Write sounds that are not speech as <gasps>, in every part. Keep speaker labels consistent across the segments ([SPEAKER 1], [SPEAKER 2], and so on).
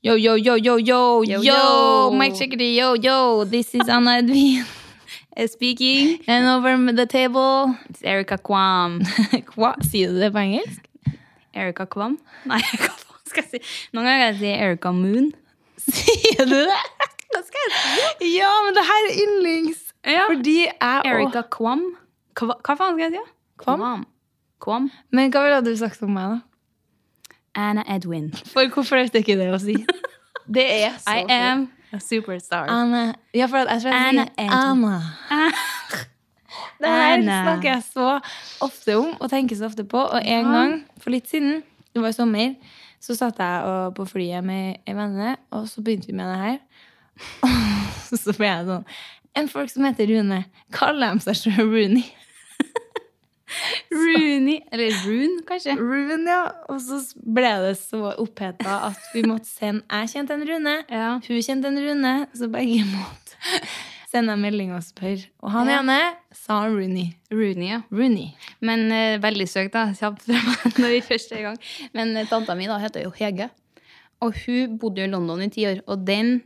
[SPEAKER 1] Yo, yo, yo, yo, yo, yo,
[SPEAKER 2] Yo, yo.
[SPEAKER 1] Mike Chickadee, yo,
[SPEAKER 2] Oh,
[SPEAKER 1] yo. This is Anna Edwin
[SPEAKER 2] <laughs> Eh, Speaking
[SPEAKER 1] and over the table.
[SPEAKER 2] It's Erika Kwam.
[SPEAKER 1] Hva? Sier du det på <laughs> engelsk?
[SPEAKER 2] Erika Kwam? <laughs> Nei, hva faen skal jeg si? Noen ganger kan jeg si Erika Moon.
[SPEAKER 1] Sier du det?
[SPEAKER 2] Hva skal jeg si?
[SPEAKER 1] Ja, men det her er yndlings.
[SPEAKER 2] Ja.
[SPEAKER 1] Fordi jeg
[SPEAKER 2] Erika Kwam. Hva, hva faen skal jeg si? da?
[SPEAKER 1] Kwam?
[SPEAKER 2] Kwam.
[SPEAKER 1] Men hva ville du sagt om meg, da?
[SPEAKER 2] Anna <laughs> Edwin.
[SPEAKER 1] For hvorfor er det ikke det å si? <laughs> Det er så
[SPEAKER 2] I am a superstar.
[SPEAKER 1] Anne Ja, for at jeg tror jeg
[SPEAKER 2] Anne
[SPEAKER 1] sier
[SPEAKER 2] Edwin.
[SPEAKER 1] Anna.
[SPEAKER 2] Ah.
[SPEAKER 1] Det her
[SPEAKER 2] Anna.
[SPEAKER 1] snakker jeg så ofte om og tenker så ofte på. Og en gang for litt siden, det var i sommer, så satt jeg og- på flyet med en venninne, og så begynte vi med det her. <laughs> Og så ble jeg sånn En folk som heter Rune, kaller de seg selv Rooney?
[SPEAKER 2] <laughs> Rooney. Eller Rune, kanskje.
[SPEAKER 1] Rune, ja. Og så ble det så oppheta at vi måtte sende Jeg kjente en Rune.
[SPEAKER 2] Ja.
[SPEAKER 1] Hun kjente en Rune, så begge <laughs> måtte sende en melding og spørre. Og han
[SPEAKER 2] Ja.
[SPEAKER 1] ene sa han Rooney.
[SPEAKER 2] Rooney, ja.
[SPEAKER 1] Rooney.
[SPEAKER 2] Men eh, veldig søkt, da. Kjapt fra meg <laughs> når vi først er i gang. Men eh, tanta mi da heter jo Hege. Og hun bodde jo i London i ti år, og den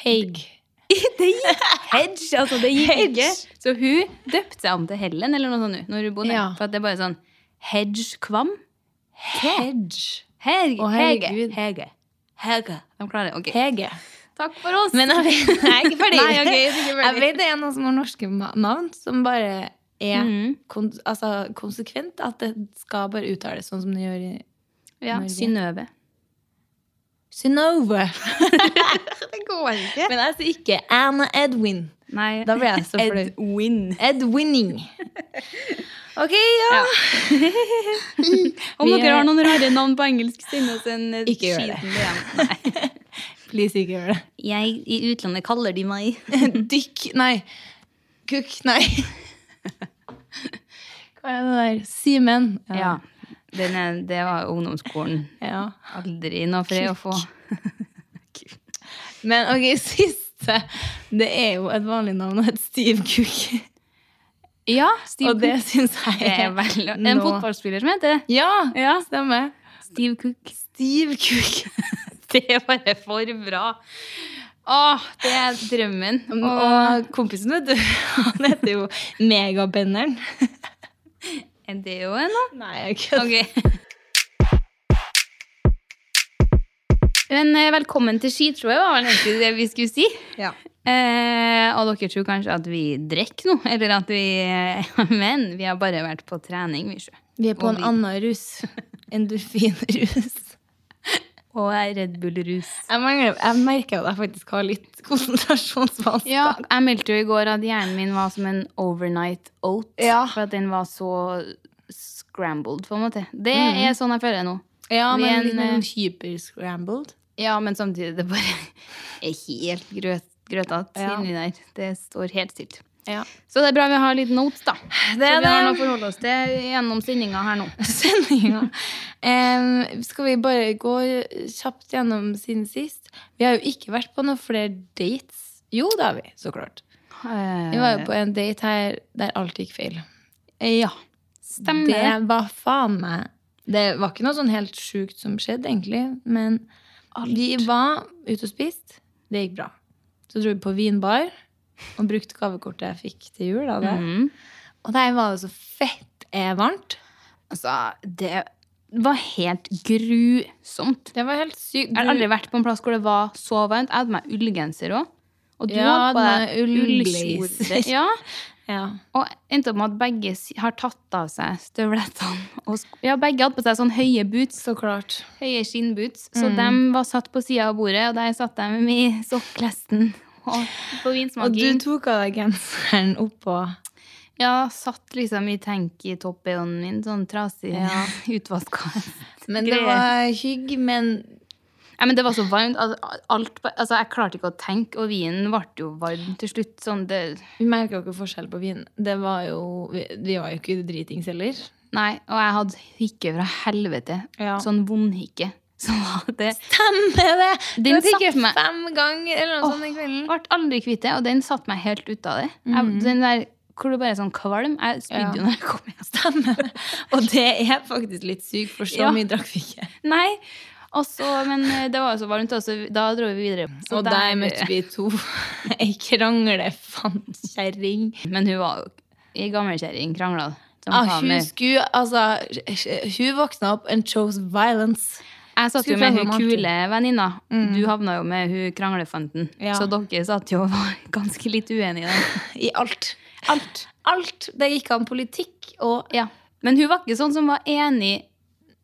[SPEAKER 1] Haig.
[SPEAKER 2] Det gikk hedge! Altså, det gikk
[SPEAKER 1] Hedge.
[SPEAKER 2] ikke. Så hun døpte seg om til Helen eller noe sånt nå, når hun bodde der.
[SPEAKER 1] Ja.
[SPEAKER 2] For at det er bare sånn Hedge Kvam?
[SPEAKER 1] Hedge.
[SPEAKER 2] Hege.
[SPEAKER 1] Å,
[SPEAKER 2] Hege.
[SPEAKER 1] herregud.
[SPEAKER 2] Hege. Hege. De klarer det. Ok.
[SPEAKER 1] Hege.
[SPEAKER 2] Takk for oss.
[SPEAKER 1] Men jeg vet, jeg er ikke ferdig.
[SPEAKER 2] <laughs> Nei, ok, jeg er ikke ferdig.
[SPEAKER 1] jeg vet det er noen som har norske ma- navn som bare er
[SPEAKER 2] Mhm.
[SPEAKER 1] kon altså, konsekvent. At det skal bare uttales sånn som det gjør i
[SPEAKER 2] ja.
[SPEAKER 1] Norge.
[SPEAKER 2] Synnøve.
[SPEAKER 1] Synnøve.
[SPEAKER 2] <laughs> Det går ikke.
[SPEAKER 1] Men jeg sier ikke Anna Edwin.
[SPEAKER 2] Nei.
[SPEAKER 1] Da blir jeg så flau.
[SPEAKER 2] Edwin.
[SPEAKER 1] Edwinning. Ok, ja.
[SPEAKER 2] Ja. <laughs> Om
[SPEAKER 1] Vi
[SPEAKER 2] dere
[SPEAKER 1] er-
[SPEAKER 2] har noen rare navn på engelsk, send oss en eh,
[SPEAKER 1] Ikke gjør det.
[SPEAKER 2] skiten DM. Nei.
[SPEAKER 1] Please, ikke gjør det.
[SPEAKER 2] Jeg i utlandet kaller de meg
[SPEAKER 1] Dykk Nei. Kukk Nei. <laughs> Hva er det der? Simen.
[SPEAKER 2] Ja. Den er, det var ungdomsskolen.
[SPEAKER 1] ja.
[SPEAKER 2] Aldri noe fred å få.
[SPEAKER 1] Men ok, <laughs> siste. Det er jo et vanlig navn og et Steve Cook.
[SPEAKER 2] Ja, Steve
[SPEAKER 1] Og det
[SPEAKER 2] Cook.
[SPEAKER 1] syns
[SPEAKER 2] Det
[SPEAKER 1] jeg
[SPEAKER 2] er veldig <laughs> En
[SPEAKER 1] Nå-
[SPEAKER 2] fotballspiller som heter det.
[SPEAKER 1] Ja,
[SPEAKER 2] Ja.
[SPEAKER 1] stemmer.
[SPEAKER 2] Steve Cook.
[SPEAKER 1] Steve Cook.
[SPEAKER 2] <laughs> Det er bare for bra. Åh, det er drømmen. Og
[SPEAKER 1] Og kompisen, vet du, han heter jo Megabenderen.
[SPEAKER 2] er det jo en, da?
[SPEAKER 1] <laughs> Nei, jeg kødder.
[SPEAKER 2] Ok. Men eh, velkommen til skitroet, var vel egentlig det vi skulle si.
[SPEAKER 1] Ja.
[SPEAKER 2] Eh, og dere tror kanskje at vi drikker noe, eller at vi Men vi <laughs> har bare vært på trening, vi sjø.
[SPEAKER 1] Vi er på
[SPEAKER 2] Og
[SPEAKER 1] en
[SPEAKER 2] vi-
[SPEAKER 1] annen rus. Endorfinrus.
[SPEAKER 2] Og er Red Bull-rus.
[SPEAKER 1] Jeg, mangler, jeg merker at jeg faktisk har litt konsentrasjonsvansker.
[SPEAKER 2] Ja, jeg meldte jo i går at hjernen min var som en overnight oat.
[SPEAKER 1] Ja.
[SPEAKER 2] For at den var så scrambled, på en måte. Det er sånn jeg føler nå.
[SPEAKER 1] Ja,
[SPEAKER 2] Vi er
[SPEAKER 1] men
[SPEAKER 2] en,
[SPEAKER 1] litt mer sånn hyperscrambled.
[SPEAKER 2] Ja, men samtidig, det bare <laughs> er helt grøt, grøtete
[SPEAKER 1] Ja.
[SPEAKER 2] inni der. Det står helt stilt.
[SPEAKER 1] Ja.
[SPEAKER 2] Så det er bra vi har litt notes, da.
[SPEAKER 1] Det
[SPEAKER 2] så
[SPEAKER 1] er
[SPEAKER 2] vi har
[SPEAKER 1] det.
[SPEAKER 2] noe å forholde oss til gjennom sendinga her nå.
[SPEAKER 1] <laughs> Sendinga. Em, skal vi bare gå kjapt gjennom siden sist? Vi har jo ikke vært på noen flere dates. Jo, det har vi, så klart.
[SPEAKER 2] Eh,
[SPEAKER 1] Vi var jo på en date her der alt gikk feil.
[SPEAKER 2] Ja. Stemmer.
[SPEAKER 1] Det var faen meg Det var ikke noe sånn helt sjukt som skjedde, egentlig. Men vi var ute og spiste. Det gikk bra. Så dro vi på vinbar og brukte gavekortet jeg fikk til jul. av det.
[SPEAKER 2] Mhm.
[SPEAKER 1] Og der var det så fett eh, varmt.
[SPEAKER 2] Altså, det var helt grusomt.
[SPEAKER 1] Det var helt sykt.
[SPEAKER 2] Jeg har aldri vært på en plass hvor det var så varmt. Jeg hadde meg ullgenser òg. Og du
[SPEAKER 1] Ja,
[SPEAKER 2] hadde på
[SPEAKER 1] den
[SPEAKER 2] deg
[SPEAKER 1] der ullblazer.
[SPEAKER 2] ullkjole. <laughs> Ja,
[SPEAKER 1] Ja.
[SPEAKER 2] og endte opp med at begge si- har tatt av seg støvlettene. Og sko ja, begge hadde på seg sånne høye boots,
[SPEAKER 1] Så klart.
[SPEAKER 2] høye skinnboots. Så
[SPEAKER 1] Mm.
[SPEAKER 2] de var satt på sida av bordet, og der satt de i sokklesten. <laughs> Og på
[SPEAKER 1] Og du
[SPEAKER 2] vinsmaking.
[SPEAKER 1] tok av deg genseren oppå.
[SPEAKER 2] Ja, satt liksom i tenk i toppøynen min, sånn trasig, <laughs> utvaska.
[SPEAKER 1] Men
[SPEAKER 2] det
[SPEAKER 1] det var hygg, men
[SPEAKER 2] Nei, men det var så varmt. Altså, alt, bare- altså, jeg klarte ikke å tenke, og vinen ble jo varm til slutt. Sånn, det,
[SPEAKER 1] vi merka jo ikke forskjell på vinen. Det var jo, vi, vi var jo ikke dritings heller.
[SPEAKER 2] nei, og jeg hadde hikke fra helvete.
[SPEAKER 1] Ja.
[SPEAKER 2] Sånn vondhikke. <laughs> Så var det
[SPEAKER 1] Stemmer det!
[SPEAKER 2] Den
[SPEAKER 1] Den fikk
[SPEAKER 2] satt
[SPEAKER 1] jeg
[SPEAKER 2] meg-
[SPEAKER 1] fem ganger eller noe
[SPEAKER 2] Åh.
[SPEAKER 1] sånt den sånn kvelden. Mhm.
[SPEAKER 2] ble aldri kvitt det, og den satte meg helt ut av det. Jeg, den der, hvor du bare er sånn kvalm.
[SPEAKER 1] Ja.
[SPEAKER 2] Jeg spydde jo når jeg kom hjem. <laughs>
[SPEAKER 1] Stemmer det. Og det er faktisk litt sykt, for så
[SPEAKER 2] Ja.
[SPEAKER 1] mye drakk vi ikke.
[SPEAKER 2] Nei, Og så- men eh, det var jo så varmt, og så da dro vi videre. Så
[SPEAKER 1] og der, møtte vi <laughs> to. Ei kranglefant-kjerring.
[SPEAKER 2] <laughs> Men hun var jo ei gammelkjerring, krangla. som
[SPEAKER 1] Ah,
[SPEAKER 2] faen
[SPEAKER 1] hun
[SPEAKER 2] meg.
[SPEAKER 1] skulle Altså, hun våkna opp and chose violence.
[SPEAKER 2] Jeg satt jo
[SPEAKER 1] Skulle
[SPEAKER 2] med
[SPEAKER 1] prøve med
[SPEAKER 2] hun
[SPEAKER 1] Mm.
[SPEAKER 2] kule venninna. Du havna jo med hun kranglefanten.
[SPEAKER 1] Ja.
[SPEAKER 2] Så dere satt jo og var <laughs> ganske litt uenige der.
[SPEAKER 1] I alt. Alt. Alt. Det gikk an politikk og
[SPEAKER 2] Ja. Men hun var ikke sånn som var enig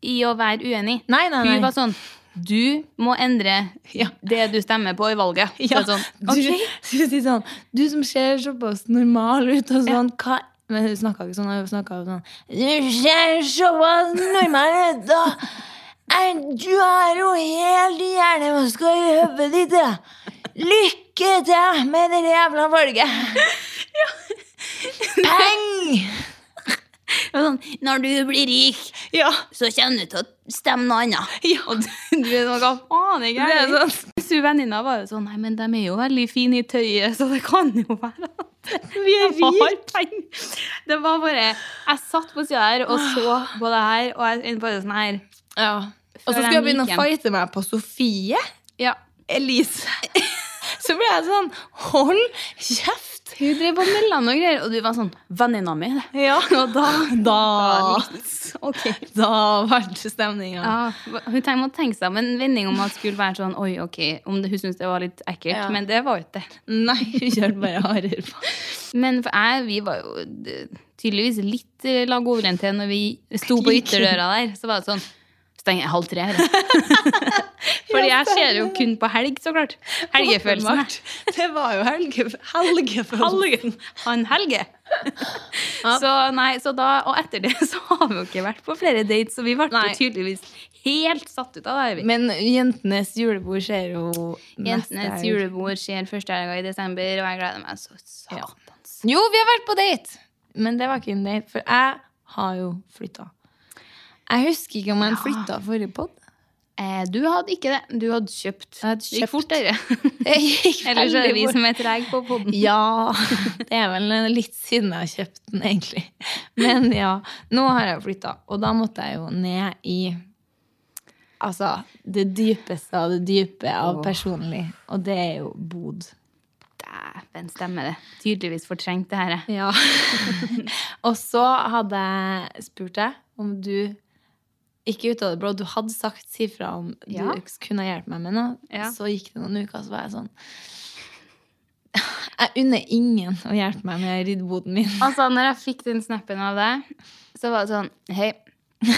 [SPEAKER 2] i å være uenig.
[SPEAKER 1] Nei, nei, nei.
[SPEAKER 2] Hun var sånn Du må endre
[SPEAKER 1] Ja.
[SPEAKER 2] det du stemmer på i valget. Så
[SPEAKER 1] Ja,
[SPEAKER 2] sånn,
[SPEAKER 1] du, <laughs> du sier sånn Du som ser såpass normal ut og sånn, hva Men hun snakka ikke sånn. Hun snakka jo sånn Du ser såpass normal ut, da. Er- Du har jo helt hjernevask i hodet ditt. ja. Lykke til med det jævla <laughs> valget. Peng!
[SPEAKER 2] Det var sånn, Når du blir rik,
[SPEAKER 1] Ja.
[SPEAKER 2] så kommer du til å stemme noe annet. Og du, du er sånn, hva faen er
[SPEAKER 1] Det er
[SPEAKER 2] gærent?
[SPEAKER 1] sånn
[SPEAKER 2] Hun venninna var jo sånn Nei, men de er jo veldig fine i tøyet, så det kan jo være at vi
[SPEAKER 1] er
[SPEAKER 2] Det var bare Jeg satt på sida her og så på det her, og jeg endte bare sånn her.
[SPEAKER 1] ja. Og så
[SPEAKER 2] Før
[SPEAKER 1] skulle jeg
[SPEAKER 2] de
[SPEAKER 1] begynne
[SPEAKER 2] gikk
[SPEAKER 1] å
[SPEAKER 2] hjem.
[SPEAKER 1] fighte meg på Sofie
[SPEAKER 2] Ja.
[SPEAKER 1] Elise. Så ble jeg sånn Hold kjeft!
[SPEAKER 2] Hun drev og melda noe greier, og du var sånn Venninna mi, det.
[SPEAKER 1] Ja.
[SPEAKER 2] <laughs> Og da
[SPEAKER 1] Da
[SPEAKER 2] <laughs> Ok.
[SPEAKER 1] Da ble stemninga.
[SPEAKER 2] Ja, hun tenk, må tenke seg om en vending om at skulle være sånn Oi, ok, om det, hun syntes det var litt ekkelt,
[SPEAKER 1] Ja.
[SPEAKER 2] men det var jo ikke det.
[SPEAKER 1] Nei, hun kjørte bare hardere på.
[SPEAKER 2] Men for jeg, vi var jo d- tydeligvis litt eh, lag overlent til når vi sto på ytterdøra der. Så var det sånn Steng halv tre.
[SPEAKER 1] <laughs>
[SPEAKER 2] her». Fordi jeg ser jo kun på helg, så klart. Helgefølelsen. her.
[SPEAKER 1] Det var jo helge, helgefølelsen.
[SPEAKER 2] Helge. Han Helge. Så nei, så da, Og etter det <laughs> så har vi jo ikke vært på flere dates, så vi ble
[SPEAKER 1] Nei.
[SPEAKER 2] jo tydeligvis helt satt ut av det. Eivind.
[SPEAKER 1] Men jentenes julebord skjer jo neste
[SPEAKER 2] Jentenes
[SPEAKER 1] helg.
[SPEAKER 2] julebord skjer første helga i desember, og jeg gleder meg så
[SPEAKER 1] Ja.
[SPEAKER 2] satans.
[SPEAKER 1] Jo, vi har vært på date! Men det var ikke en date, for jeg har jo flytta. Jeg husker ikke om jeg flytta forrige pod.
[SPEAKER 2] Eh, du hadde ikke det. Du hadde kjøpt.
[SPEAKER 1] Jeg hadde
[SPEAKER 2] Det gikk
[SPEAKER 1] kjøpt.
[SPEAKER 2] fortere. Ellers er det vi
[SPEAKER 1] Eller
[SPEAKER 2] som er trege på <laughs> podden.
[SPEAKER 1] Ja. Det er vel litt siden jeg har kjøpt den, egentlig. Men ja, nå har jeg flytta, og da måtte jeg jo ned i Altså, det dypeste av det dype av
[SPEAKER 2] Åh.
[SPEAKER 1] personlig, og det er jo bod.
[SPEAKER 2] Dæven, stemmer det. Tydeligvis fortrengt det her. jeg.
[SPEAKER 1] Ja. <laughs> og så hadde jeg spurt deg om du ikke ut av det blå, du hadde sagt si fra om
[SPEAKER 2] Ja.
[SPEAKER 1] du kunne hjelpe meg med noe.
[SPEAKER 2] Ja.
[SPEAKER 1] Så gikk det noen uker, så var jeg sånn <laughs> Jeg unner ingen å hjelpe meg med riddboden min.
[SPEAKER 2] Altså, når jeg fikk den snappen av deg, så var det sånn Hei. <laughs>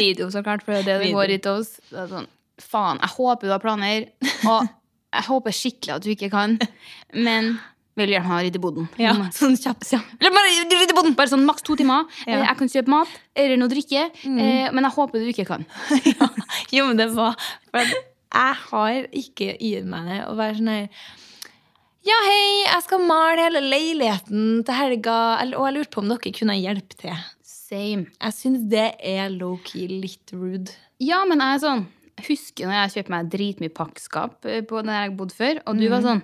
[SPEAKER 2] Video, så klart, for det er det det
[SPEAKER 1] Video.
[SPEAKER 2] går i til oss. Det er sånn, Faen, jeg håper du har planer, og jeg håper skikkelig at du ikke kan, men vil gjerne ha ridd i boden.
[SPEAKER 1] Ja, sånn kjapt. Ja. La meg rydde boden!
[SPEAKER 2] Bare sånn maks to timer.
[SPEAKER 1] Ja.
[SPEAKER 2] Eh, Jeg kan kjøpe mat eller noe drikke, eh, men jeg håper du ikke kan.
[SPEAKER 1] Jo, men det var for at Jeg har ikke i meg det å være sånn her Ja, hei, jeg skal male hele leiligheten til helga, eller- og jeg lurte på om dere kunne hjelpe til.
[SPEAKER 2] Same.
[SPEAKER 1] Jeg syns det er low-key litt rude.
[SPEAKER 2] Ja, men jeg er sånn Husker når jeg kjøpte meg dritmye pakkskap eh, på der jeg bodde før, og du var sånn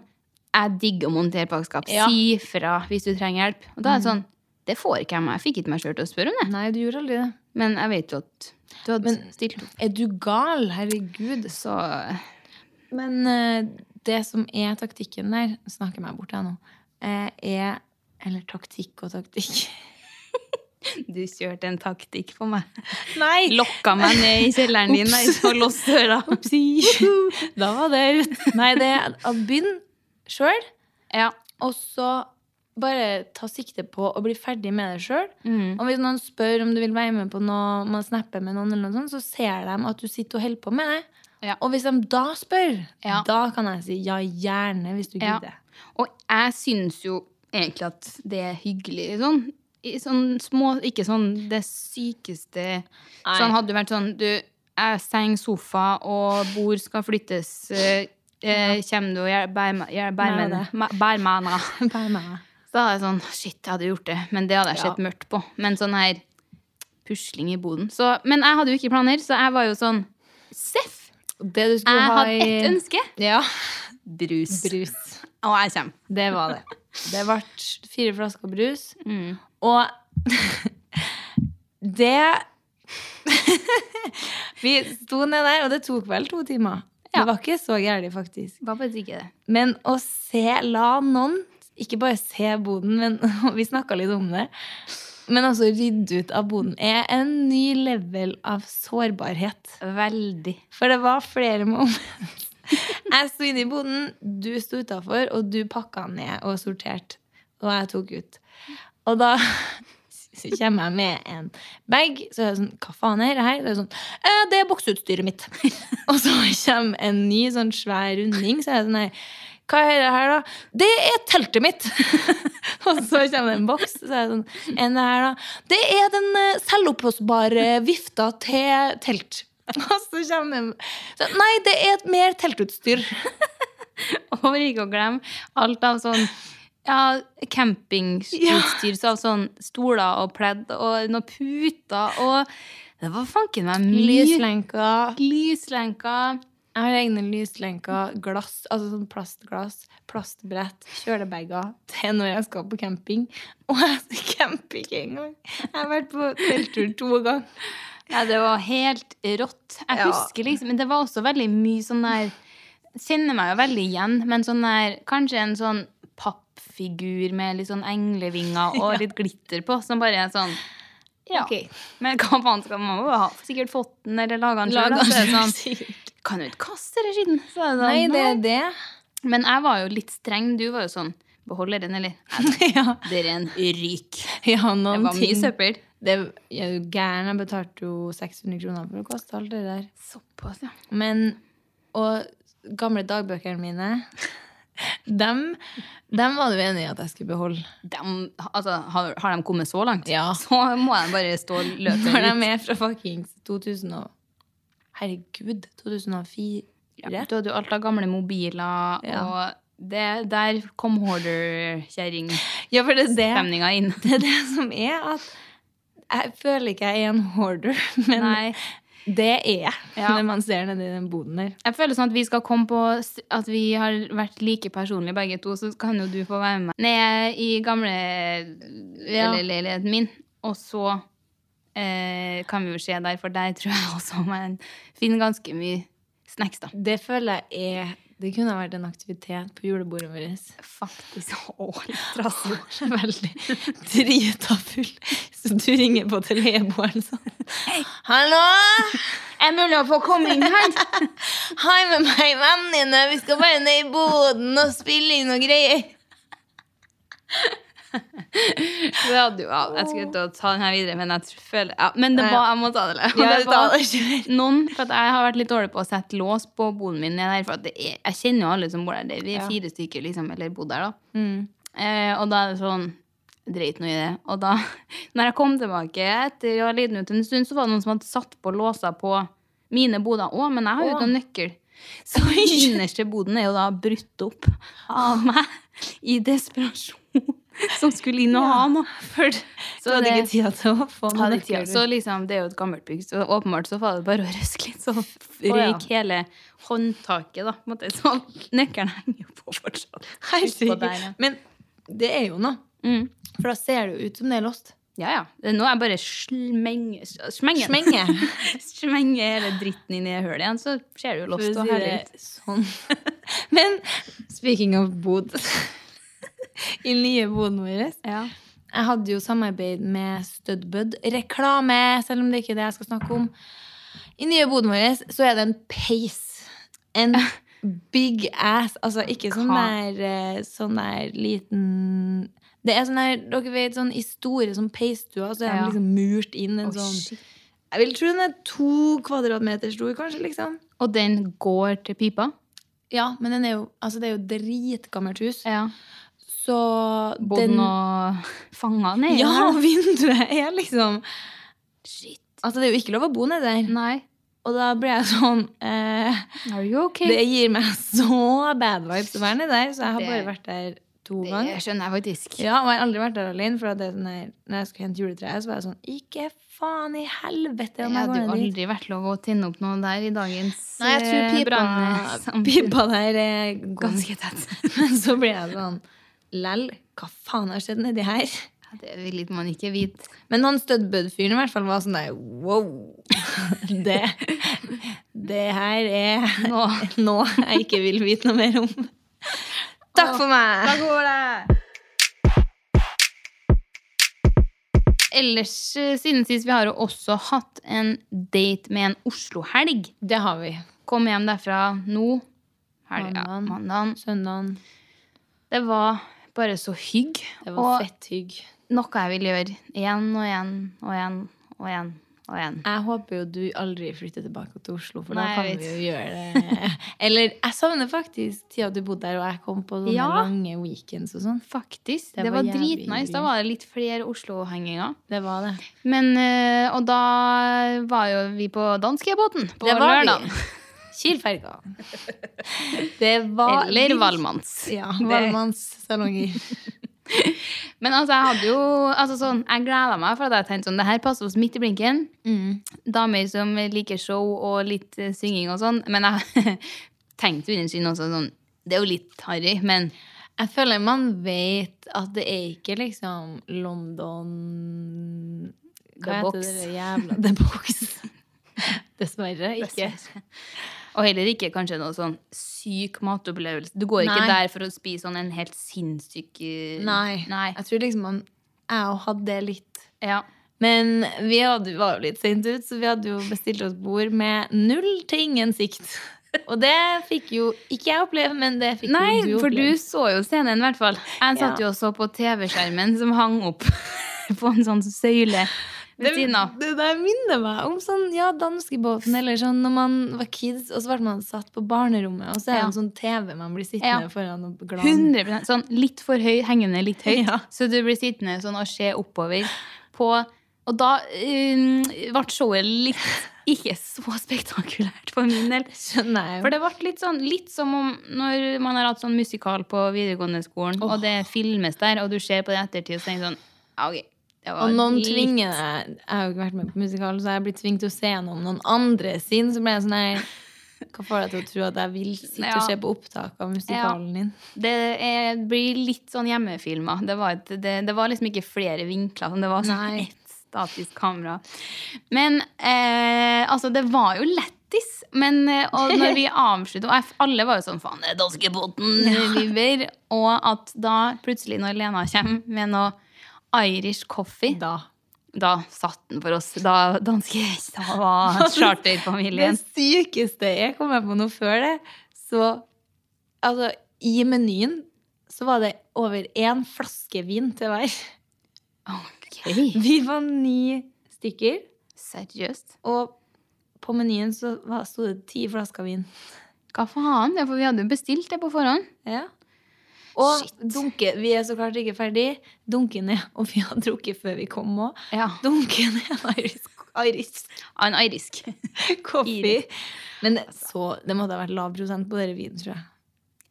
[SPEAKER 2] Jeg digger å montere pakkskap.
[SPEAKER 1] Mhm. Ja. Mhm.
[SPEAKER 2] Si fra hvis du trenger hjelp. Og da er det sånn Det får ikke jeg meg. Jeg fikk ikke meg sjøl til å spørre om det.
[SPEAKER 1] Nei, du gjorde aldri det.
[SPEAKER 2] Men jeg vet jo at du hadde
[SPEAKER 1] Men-
[SPEAKER 2] stilt opp.
[SPEAKER 1] Er du gal? Herregud.
[SPEAKER 2] Så <laughs>
[SPEAKER 1] Men eh, det som er taktikken der, snakker jeg meg bort her nå, eh, er Eller taktikk og taktikk.
[SPEAKER 2] du kjørte en taktikk på
[SPEAKER 1] <laughs>
[SPEAKER 2] meg.
[SPEAKER 1] Nei!
[SPEAKER 2] Lokka meg ned i kjelleren din der, og låste døra.
[SPEAKER 1] <laughs> Da var det rett. Nei, det er å begynne sjøl,
[SPEAKER 2] Ja.
[SPEAKER 1] og så bare ta sikte på å bli ferdig med det sjøl.
[SPEAKER 2] Mm.
[SPEAKER 1] Og hvis noen spør om du vil være med på noe, man snapper med noen, eller noe sånt, så ser de at du sitter og holder på med det.
[SPEAKER 2] Ja.
[SPEAKER 1] Og hvis de da spør,
[SPEAKER 2] Ja.
[SPEAKER 1] da kan jeg si ja, gjerne, hvis du
[SPEAKER 2] Ja.
[SPEAKER 1] gidder.
[SPEAKER 2] Og jeg syns jo egentlig at det er hyggelig. Sånn, I sånn små Ikke sånn det sykeste Sånn hadde det vært sånn Du, jeg seng, sofa og bord skal flyttes. eh, eh, Kjem du og gjel- bær meg- gjel- bær
[SPEAKER 1] Nei,
[SPEAKER 2] meg
[SPEAKER 1] det.
[SPEAKER 2] ma- bær meg nå?
[SPEAKER 1] Bare meg.
[SPEAKER 2] Så da er jeg sånn Shit, jeg hadde gjort det. Men det hadde jeg
[SPEAKER 1] Ja.
[SPEAKER 2] sett mørkt på. Men sånn her pusling i boden. Så, men jeg hadde jo ikke planer, så jeg var jo sånn Seff!
[SPEAKER 1] Det du
[SPEAKER 2] Jeg
[SPEAKER 1] skulle ha
[SPEAKER 2] hadde
[SPEAKER 1] i
[SPEAKER 2] ett ønske.
[SPEAKER 1] Ja.
[SPEAKER 2] Brus.
[SPEAKER 1] Brus.
[SPEAKER 2] Og jeg kommer.
[SPEAKER 1] Det var det. Det ble fire flasker brus. <laughs>
[SPEAKER 2] Mm.
[SPEAKER 1] Og det Vi sto ned der, og det tok vel to timer.
[SPEAKER 2] Ja.
[SPEAKER 1] Det var ikke så gærent, faktisk.
[SPEAKER 2] Hva betyr ikke det?
[SPEAKER 1] Men å se, la noen Ikke bare se boden, men <laughs> og vi snakka litt om det. Men altså rydde ut av boden er en ny level av sårbarhet.
[SPEAKER 2] Veldig.
[SPEAKER 1] For det var flere <laughs> moments. Jeg sto inne i boden, du sto utafor, og du pakka ned og sorterte. Og jeg tok ut. Og da <laughs> så kommer jeg med en bag, så er jeg sånn Hva faen er det her? Så er jeg sånn «Eh, Det er bokseutstyret mitt. <laughs> og så kommer en ny sånn svær runding, så er jeg sånn her Hva er det her, da? Det er teltet mitt! <laughs> og så kommer det en boks, så er jeg sånn Enn det her, da? Det er den eh, selvoppblåsbare vifta til telt. <laughs> Og så kommer det en så, Nei, det er et mer teltutstyr.
[SPEAKER 2] <laughs> Over ikke å glemme alt av sånn ja, campingutstyr, så av sånn stoler og pledd og noen puter og Det var fanken meg mye
[SPEAKER 1] Lyslenker.
[SPEAKER 2] lyslenker.
[SPEAKER 1] Jeg har egne lyslenker, glass, altså sånn plastglass, plastbrett, kjølebager til når jeg skal på camping. <laughs> Og jeg camper ikke engang. Jeg har vært på telttur to ganger.
[SPEAKER 2] Ja, det var helt rått. Jeg
[SPEAKER 1] Ja.
[SPEAKER 2] husker liksom, Men det var også veldig mye sånn der Kjenner meg jo veldig igjen, men sånn der Kanskje en sånn pappfigur med litt sånn englevinger
[SPEAKER 1] <laughs>
[SPEAKER 2] og litt glitter på, som bare er sånn ja.
[SPEAKER 1] Ok.
[SPEAKER 2] Men hva faen skal man jo ha? Sikkert fått den, eller laga den sjøl.
[SPEAKER 1] <laughs>
[SPEAKER 2] Sånn, kan du ikke kaste den skitten? Så er det sånn,
[SPEAKER 1] Nei, det
[SPEAKER 2] nei.
[SPEAKER 1] er det.
[SPEAKER 2] Men jeg var jo litt streng. Du var jo sånn Beholder den, eller? <laughs>
[SPEAKER 1] ja.
[SPEAKER 2] Det er en ryk.
[SPEAKER 1] ja,
[SPEAKER 2] Det
[SPEAKER 1] noen
[SPEAKER 2] var mye
[SPEAKER 1] ting.
[SPEAKER 2] søppel.
[SPEAKER 1] Det jeg er jo gæren. Jeg betalte jo 600 kroner for å kaste alt det der.
[SPEAKER 2] Såpass, ja.
[SPEAKER 1] Men Og gamle dagbøkene mine, dem, dem var du enig i at jeg skulle beholde.
[SPEAKER 2] de, altså, har, har de kommet så langt,
[SPEAKER 1] Ja.
[SPEAKER 2] <laughs> så må de bare stå løpet
[SPEAKER 1] Når de
[SPEAKER 2] ut.
[SPEAKER 1] er fra fuckings 2000 og Herregud, 2004?
[SPEAKER 2] Ja, Du hadde jo alt av gamle mobiler,
[SPEAKER 1] Ja.
[SPEAKER 2] og det, der kom hoarder-kjerring-stemninga
[SPEAKER 1] Ja, for det er det,
[SPEAKER 2] inn.
[SPEAKER 1] det er det som er at jeg føler ikke jeg er en hoarder, <laughs> men
[SPEAKER 2] Nei.
[SPEAKER 1] det er jeg
[SPEAKER 2] Ja.
[SPEAKER 1] når man ser nedi den boden der.
[SPEAKER 2] Jeg føler sånn at vi skal komme på s- at vi har vært like personlige begge to, så kan jo du få være med ned i gamle
[SPEAKER 1] Ja.
[SPEAKER 2] eller leiligheten min. Og så eh, kan vi jo se der, for der tror jeg <laughs> også man finner ganske mye snacks, da.
[SPEAKER 1] Det føler jeg er Det kunne ha vært en aktivitet på julebordet vårt.
[SPEAKER 2] Faktisk. Å,
[SPEAKER 1] Trassord. <laughs> Veldig drita full. Så du ringer på til Lebo eller sånn. Hallo!
[SPEAKER 2] Er det mulig å få komme inn <laughs> her?
[SPEAKER 1] Hei med meg, venninne. Vi skal bare ned i boden og spille inn noe greier.
[SPEAKER 2] Det hadde jo, ja, jeg skulle til å ta den her videre, men jeg tr- føler ja, Men det
[SPEAKER 1] Ja, ja.
[SPEAKER 2] var, jeg må ta det. litt.
[SPEAKER 1] Ja,
[SPEAKER 2] Det
[SPEAKER 1] ta
[SPEAKER 2] var
[SPEAKER 1] det, kjør.
[SPEAKER 2] Noen, for at jeg har vært litt dårlig på å sette lås på boden min. ned Der, for at det er, jeg kjenner jo alle som bor der. Det, vi er
[SPEAKER 1] Ja.
[SPEAKER 2] fire stykker, liksom, eller bor der, da. Eh, og da er det sånn Dreit nå i det. Og da <laughs> når jeg kom tilbake etter å ha lidd ut en stund, så var det noen som hadde satt på låser på mine boder òg, men jeg har jo
[SPEAKER 1] Å.
[SPEAKER 2] ikke noen nøkkel. Så <laughs> innerste boden er jo da brutt opp av meg i desperasjon. Som skulle inn og ha noe.
[SPEAKER 1] Du hadde ikke tida til å få
[SPEAKER 2] hadde
[SPEAKER 1] noe
[SPEAKER 2] tida.
[SPEAKER 1] nøkler.
[SPEAKER 2] Så liksom, det er jo et gammelt bygg, så åpenbart så var det bare å røske litt, så røyk
[SPEAKER 1] ja.
[SPEAKER 2] hele håndtaket, da. på en måte. Så nøkkelen henger jo på fortsatt. Utpå
[SPEAKER 1] Herregud.
[SPEAKER 2] der, ja.
[SPEAKER 1] Men det er jo noe.
[SPEAKER 2] Mm.
[SPEAKER 1] For da ser det jo ut som det er lost.
[SPEAKER 2] Ja, ja. Det er Nå er jeg bare smenger Smenger <laughs>
[SPEAKER 1] Smenge.
[SPEAKER 2] hele dritten inn i hullet igjen, så ser det jo lost og
[SPEAKER 1] For å si
[SPEAKER 2] herlig ut.
[SPEAKER 1] det Sånn. <laughs> Men speaking of bod <laughs> I nye boden vår
[SPEAKER 2] Ja.
[SPEAKER 1] Jeg hadde jo samarbeid med Studbud. Reklame, selv om det ikke er det jeg skal snakke om. I nye boden vår så er det en peis. <laughs> En big ass. Altså ikke sånn
[SPEAKER 2] Hva?
[SPEAKER 1] der, eh, sånn der liten Det er sånn der, dere vet, sånn i store sånn peisstuer, så er den
[SPEAKER 2] Ja.
[SPEAKER 1] liksom murt inn en
[SPEAKER 2] Å,
[SPEAKER 1] sånn
[SPEAKER 2] shit.
[SPEAKER 1] Jeg vil tro den er to kvadratmeter stor, kanskje, liksom.
[SPEAKER 2] Og den går til pipa?
[SPEAKER 1] Ja, men den er jo, altså, det er jo dritgammelt hus.
[SPEAKER 2] Ja.
[SPEAKER 1] Så
[SPEAKER 2] Bodde den
[SPEAKER 1] den
[SPEAKER 2] og fanga ned? i
[SPEAKER 1] Ja,
[SPEAKER 2] den?
[SPEAKER 1] <laughs> vinduet er liksom
[SPEAKER 2] Shit. Mm.
[SPEAKER 1] Altså, det er jo ikke lov å bo nedi der.
[SPEAKER 2] Nei.
[SPEAKER 1] Og da ble jeg sånn eh,
[SPEAKER 2] Are you okay?
[SPEAKER 1] Det gir meg <laughs> så bad vibes å være nedi der, så jeg har
[SPEAKER 2] Det-
[SPEAKER 1] bare vært der to
[SPEAKER 2] Det
[SPEAKER 1] ganger.
[SPEAKER 2] skjønner jeg faktisk.
[SPEAKER 1] Ja, og jeg har aldri vært der alene, for at det er sånn her, når jeg skulle hente juletreet, så var jeg sånn Ikke faen i helvete om
[SPEAKER 2] Det
[SPEAKER 1] jeg
[SPEAKER 2] hadde
[SPEAKER 1] går
[SPEAKER 2] jo
[SPEAKER 1] ned dit.
[SPEAKER 2] aldri vært lov å tenne opp noe der i dagens
[SPEAKER 1] Nei, jeg tror
[SPEAKER 2] eh,
[SPEAKER 1] pipa,
[SPEAKER 2] brannsamfunn.
[SPEAKER 1] pipa der er
[SPEAKER 2] <laughs> Ganske tett.
[SPEAKER 1] <laughs> Men så ble jeg sånn Lell, hva faen har skjedd nedi her?
[SPEAKER 2] Det vil man ikke vite.
[SPEAKER 1] Men han Studbud-fyren i hvert fall var sånn der <laughs> wow. Det, det her er
[SPEAKER 2] Nå.
[SPEAKER 1] <laughs> noe jeg ikke vil vite noe mer om. Takk for meg!
[SPEAKER 2] går det! Ellers, eh, siden sist, vi har jo også hatt en date med en Oslo-helg.
[SPEAKER 1] Det har vi.
[SPEAKER 2] Kom hjem derfra nå. Helga,
[SPEAKER 1] Mandagen.
[SPEAKER 2] mandagen.
[SPEAKER 1] Søndagen.
[SPEAKER 2] Det var bare så hygg.
[SPEAKER 1] Det var
[SPEAKER 2] Og
[SPEAKER 1] fett hygg.
[SPEAKER 2] noe jeg vil gjøre igjen og igjen og igjen og igjen. Og igjen.
[SPEAKER 1] Jeg håper jo du aldri flytter tilbake til Oslo, for
[SPEAKER 2] Nei,
[SPEAKER 1] da kan
[SPEAKER 2] jeg
[SPEAKER 1] vi jo gjøre <laughs> det. Eller jeg savner faktisk tida du bodde der, og jeg kom på sånne
[SPEAKER 2] Ja.
[SPEAKER 1] lange weekends og sånn.
[SPEAKER 2] Faktisk.
[SPEAKER 1] Det
[SPEAKER 2] Det,
[SPEAKER 1] var
[SPEAKER 2] var,
[SPEAKER 1] jævlig
[SPEAKER 2] dritnice. Da
[SPEAKER 1] hyggelig.
[SPEAKER 2] var det litt flere Oslo-henginger.
[SPEAKER 1] Det var det.
[SPEAKER 2] Men, eh, Og da var jo vi på danskebåten på
[SPEAKER 1] Det var vi.
[SPEAKER 2] lørdagen.
[SPEAKER 1] <laughs> Kielferga. Det var
[SPEAKER 2] Eller
[SPEAKER 1] litt-
[SPEAKER 2] Valmanns.
[SPEAKER 1] Ja,
[SPEAKER 2] Det-
[SPEAKER 1] Valmannssalonger.
[SPEAKER 2] Men altså, jeg hadde jo altså sånn, Jeg gleda meg, for at jeg tenkte sånn Det her passer oss midt i blinken.
[SPEAKER 1] Mm.
[SPEAKER 2] Damer som liker show og litt eh, synging og sånn. Men jeg <laughs> tenkte jo innerst inne også sånn Det er jo litt harry, men
[SPEAKER 1] Jeg føler man vet at det er ikke liksom London
[SPEAKER 2] The
[SPEAKER 1] Hva heter
[SPEAKER 2] Box.
[SPEAKER 1] det jævla <laughs> The Box? Dessverre ikke.
[SPEAKER 2] <laughs> Og heller ikke kanskje noe sånn syk matopplevelse. Du går ikke
[SPEAKER 1] Nei.
[SPEAKER 2] der for å spise sånn en helt sinnssyk eh,
[SPEAKER 1] Nei. Jeg tror liksom man Jeg òg hadde det litt.
[SPEAKER 2] Ja.
[SPEAKER 1] Men vi hadde, var jo litt sent ut, så vi hadde jo bestilt oss bord med null til ingen sikt. Og det fikk jo ikke jeg oppleve, men det fikk
[SPEAKER 2] Nei,
[SPEAKER 1] jo du
[SPEAKER 2] for du
[SPEAKER 1] oppleve.
[SPEAKER 2] så jo scenen, i hvert fall. Jeg satt jo og så på TV-skjermen som hang opp <laughs> på en sånn søyle ved siden av.
[SPEAKER 1] Det, det der minner meg om sånn, ja, danskebåten, eller sånn når man var kids, og så ble man satt på barnerommet, og så er det
[SPEAKER 2] Ja.
[SPEAKER 1] en sånn TV man blir sittende
[SPEAKER 2] Ja.
[SPEAKER 1] foran og glad.
[SPEAKER 2] 100 sånn litt for høy, hengende litt høyt.
[SPEAKER 1] Ja.
[SPEAKER 2] Så du blir sittende sånn og se oppover på Og da um, ble showet litt ikke så spektakulært for min del.
[SPEAKER 1] <laughs> Skjønner jeg jo.
[SPEAKER 2] For det ble litt sånn litt som om når man har hatt sånn musikal på videregående skolen,
[SPEAKER 1] Åh.
[SPEAKER 2] og det filmes der, og du ser på det i ettertid og tenker sånn ja, ok, det var
[SPEAKER 1] Og noen
[SPEAKER 2] litt-
[SPEAKER 1] tvinger deg Jeg har jo ikke vært med på musikal, så jeg blir tvunget til å se gjennom noen andre sin. Så ble jeg sånn her Hva får deg til å tro at jeg vil sitte
[SPEAKER 2] Ja.
[SPEAKER 1] og se på opptak av musikalen din?
[SPEAKER 2] Det er, blir litt sånn hjemmefilma. Det, var et- det, det var liksom ikke flere vinkler. sånn. Det var sånn
[SPEAKER 1] Nei.
[SPEAKER 2] ett statisk kamera. Men eh, altså, det var jo lættis. Men eh, og når
[SPEAKER 1] <laughs>
[SPEAKER 2] vi avslutta Og jeg, alle var jo sånn faen, det er danskebåten-viber. Og at da plutselig, når Lena kommer med noe Irish coffee, da,
[SPEAKER 1] Da.
[SPEAKER 2] satt den for oss. Da danske
[SPEAKER 1] <laughs>
[SPEAKER 2] da var
[SPEAKER 1] Det
[SPEAKER 2] charterfamilien.
[SPEAKER 1] sykeste jeg kom med på noe før det, så Altså, i menyen så var det over én flaske vin til hver.
[SPEAKER 2] Ok,
[SPEAKER 1] <laughs> Vi var ni stykker,
[SPEAKER 2] Seriøst?
[SPEAKER 1] og på menyen så var- sto det ti flasker vin.
[SPEAKER 2] Hva faen? Det er for vi hadde jo bestilt det på forhånd.
[SPEAKER 1] Ja. Og
[SPEAKER 2] Shit.
[SPEAKER 1] dunke, vi er så klart ikke ferdig. Dunke ned, og vi har drukket før vi kom òg.
[SPEAKER 2] Ja.
[SPEAKER 1] Dunke ned <laughs> en irisk, irisk
[SPEAKER 2] En irisk.
[SPEAKER 1] coffee. Men det- så, det måtte ha vært lav prosent på dere vinen, tror jeg.
[SPEAKER 2] <laughs>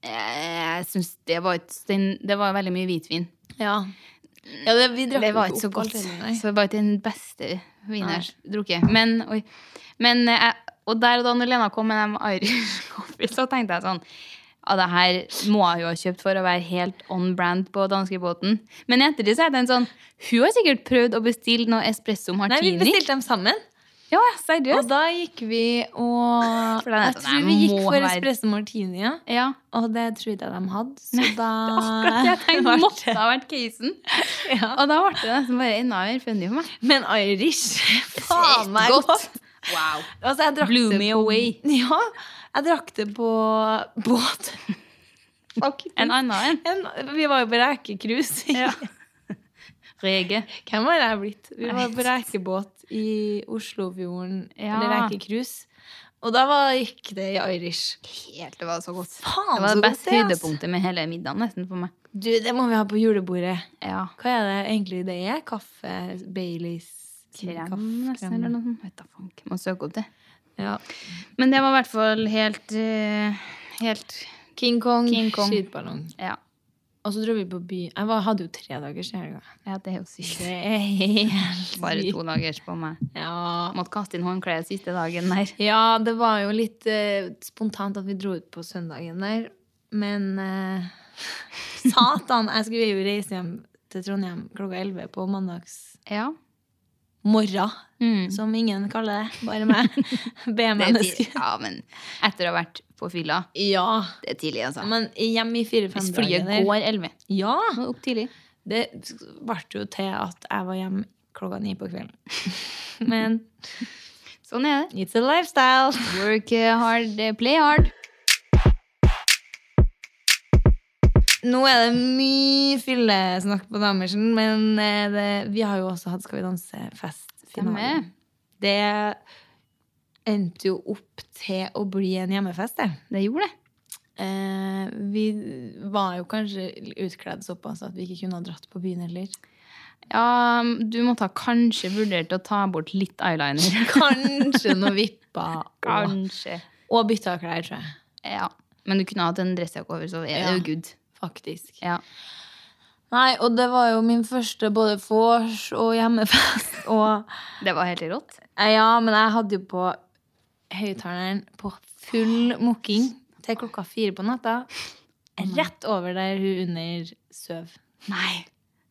[SPEAKER 2] Jeg syns det var et den- Det var veldig mye hvitvin.
[SPEAKER 1] Ja, ja det, vi drakk
[SPEAKER 2] Det var
[SPEAKER 1] jo
[SPEAKER 2] ikke så
[SPEAKER 1] opp alt
[SPEAKER 2] godt.
[SPEAKER 1] heller, nei.
[SPEAKER 2] Så det var ikke den beste vinen jeg har drukket. Men, oi. Men eh, jeg- Og der og da når Lena kom med dem Irish <laughs> coffee, så tenkte jeg sånn ja, det her må jeg jo ha kjøpt for å være helt on brand på danskebåten. Men etter det så er det en sånn Hun har sikkert prøvd å bestille noe espresso
[SPEAKER 1] Nei, vi
[SPEAKER 2] martini.
[SPEAKER 1] bestilte dem sammen.
[SPEAKER 2] ja,
[SPEAKER 1] Og
[SPEAKER 2] seriøst?
[SPEAKER 1] da gikk vi og
[SPEAKER 2] For da er
[SPEAKER 1] Jeg
[SPEAKER 2] det sånn,
[SPEAKER 1] tror
[SPEAKER 2] jeg
[SPEAKER 1] vi gikk
[SPEAKER 2] må
[SPEAKER 1] for
[SPEAKER 2] være-
[SPEAKER 1] espresso martini, ja.
[SPEAKER 2] Ja.
[SPEAKER 1] Og det tror jeg ikke de hadde. Så da <laughs>
[SPEAKER 2] Akkurat det jeg <laughs> tenkte
[SPEAKER 1] ble
[SPEAKER 2] måtte
[SPEAKER 1] det-
[SPEAKER 2] ha vært casen.
[SPEAKER 1] Ja.
[SPEAKER 2] Og da ble det nesten bare enda mer funny for meg.
[SPEAKER 1] Men irish <laughs> Faen meg godt!
[SPEAKER 2] Wow.
[SPEAKER 1] Altså, jeg drakk
[SPEAKER 2] Blew
[SPEAKER 1] det
[SPEAKER 2] me
[SPEAKER 1] på,
[SPEAKER 2] away.
[SPEAKER 1] Ja, jeg drakk det på
[SPEAKER 2] <laughs>
[SPEAKER 1] båt.
[SPEAKER 2] En annen <laughs> en.
[SPEAKER 1] En, vi var jo på
[SPEAKER 2] <laughs>
[SPEAKER 1] rekecruise. i-
[SPEAKER 2] Rege.
[SPEAKER 1] Hvem var jeg blitt? Vi
[SPEAKER 2] Jeg
[SPEAKER 1] var
[SPEAKER 2] vet
[SPEAKER 1] på rekebåt i Oslofjorden.
[SPEAKER 2] Ja.
[SPEAKER 1] Eller rekecruise. Og da var, gikk det i Irish.
[SPEAKER 2] Helt, det var så godt.
[SPEAKER 1] Faen, så
[SPEAKER 2] Det var det
[SPEAKER 1] godt
[SPEAKER 2] beste
[SPEAKER 1] ass.
[SPEAKER 2] høydepunktet med hele middagen nesten for meg.
[SPEAKER 1] Du, det må vi ha på julebordet.
[SPEAKER 2] Ja.
[SPEAKER 1] Hva er det egentlig det er? Kaffe? Baileys?
[SPEAKER 2] Krem, nesten, eller noe sånt. Vet da faen, må søke opp det.
[SPEAKER 1] Ja.
[SPEAKER 2] Men det var i hvert fall helt eh, Helt
[SPEAKER 1] King Kong,
[SPEAKER 2] King Kong.
[SPEAKER 1] skytballong.
[SPEAKER 2] Ja.
[SPEAKER 1] Og så dro vi på by. Jeg var, hadde jo tre dagers i helga.
[SPEAKER 2] ja det er jo sykt.
[SPEAKER 1] Det er helt
[SPEAKER 2] Bare
[SPEAKER 1] sykt.
[SPEAKER 2] to dagers på meg.
[SPEAKER 1] Ja.
[SPEAKER 2] Måtte kaste inn håndkleet siste dagen der.
[SPEAKER 1] Ja, det var jo litt eh, spontant at vi dro ut på <laughs> søndagen der. Men eh, satan, jeg skulle jo reise hjem til Trondheim klokka 11 på mandags
[SPEAKER 2] Ja.
[SPEAKER 1] morgen,
[SPEAKER 2] Mm.
[SPEAKER 1] som ingen kaller det. Bare meg. <laughs>
[SPEAKER 2] Det er tidlig.
[SPEAKER 1] B-menneske.
[SPEAKER 2] Ja, men etter å ha vært på fylla.
[SPEAKER 1] Ja.
[SPEAKER 2] Det er tidlig, altså.
[SPEAKER 1] Men hjemme i
[SPEAKER 2] Hvis
[SPEAKER 1] fire-fem
[SPEAKER 2] flyet
[SPEAKER 1] dager der-
[SPEAKER 2] går 11.
[SPEAKER 1] Ja.
[SPEAKER 2] Må opp tidlig.
[SPEAKER 1] Det ble jo til at jeg var hjemme klokka ni på kvelden. <laughs> Men
[SPEAKER 2] Sånn er det.
[SPEAKER 1] it's a lifestyle.
[SPEAKER 2] Work eh, hard, play hard.
[SPEAKER 1] Nå er det mye fyllesnakk på Damersen, men eh, det, vi har jo også hatt Skal vi danse-festfinale.
[SPEAKER 2] Stemmer.
[SPEAKER 1] Det endte jo opp til å bli en hjemmefest, det.
[SPEAKER 2] Det gjorde det.
[SPEAKER 1] Eh, vi var jo kanskje utkledd såpass at vi ikke kunne ha dratt på byen heller.
[SPEAKER 2] Ja, du måtte ha kanskje vurdert å ta bort litt <laughs> eyeliner.
[SPEAKER 1] Kanskje <laughs> noen vipper og,
[SPEAKER 2] Kanskje.
[SPEAKER 1] og bytta klær, tror jeg.
[SPEAKER 2] Ja. Men du kunne hatt en dressjakke over, så er det
[SPEAKER 1] Ja.
[SPEAKER 2] jo good.
[SPEAKER 1] Faktisk.
[SPEAKER 2] Ja.
[SPEAKER 1] Nei, og det var jo min første både vors og hjemmefest. <laughs> Og
[SPEAKER 2] Det var helt rått.
[SPEAKER 1] Eh, ja, men jeg hadde jo på høyttaleren på full mokking til klokka fire på natta. Rett over der hun under søv.
[SPEAKER 2] Nei.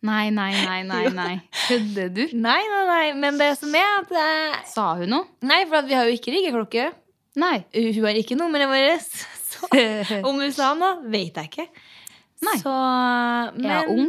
[SPEAKER 2] Nei, nei, nei, nei. nei. <laughs> Kødder du?
[SPEAKER 1] Nei, nei, nei, men det som er at jeg...
[SPEAKER 2] Sa hun noe?
[SPEAKER 1] Nei, for at vi har jo ikke riggeklokke.
[SPEAKER 2] <laughs> Nei.
[SPEAKER 1] Hun har ikke nummeret vårt. <laughs> Så
[SPEAKER 2] Jeg
[SPEAKER 1] om hun sa noe, vet jeg ikke.
[SPEAKER 2] Nei.
[SPEAKER 1] Så men,
[SPEAKER 2] er ung.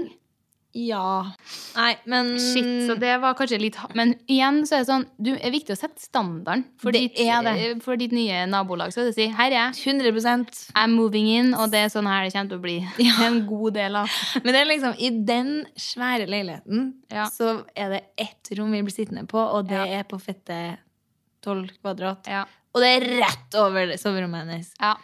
[SPEAKER 1] Ja. Nei, men
[SPEAKER 2] Shit, så det var kanskje litt ha- Men igjen så er det sånn du, Det er viktig å sette standarden for,
[SPEAKER 1] Det
[SPEAKER 2] ditt,
[SPEAKER 1] er det.
[SPEAKER 2] eh, for ditt nye nabolag. Så det si, her er jeg,
[SPEAKER 1] 100
[SPEAKER 2] I'm moving in, og det er sånn her det kommer til å bli.
[SPEAKER 1] Ja.
[SPEAKER 2] <laughs> En god del av
[SPEAKER 1] Men det er liksom, i den svære leiligheten
[SPEAKER 2] Ja.
[SPEAKER 1] så er det ett rom vi blir sittende på, og det
[SPEAKER 2] Ja.
[SPEAKER 1] er på fette 12 kvadrat.
[SPEAKER 2] Ja.
[SPEAKER 1] Og det er rett over det- soverommet hennes. <laughs>
[SPEAKER 2] ja.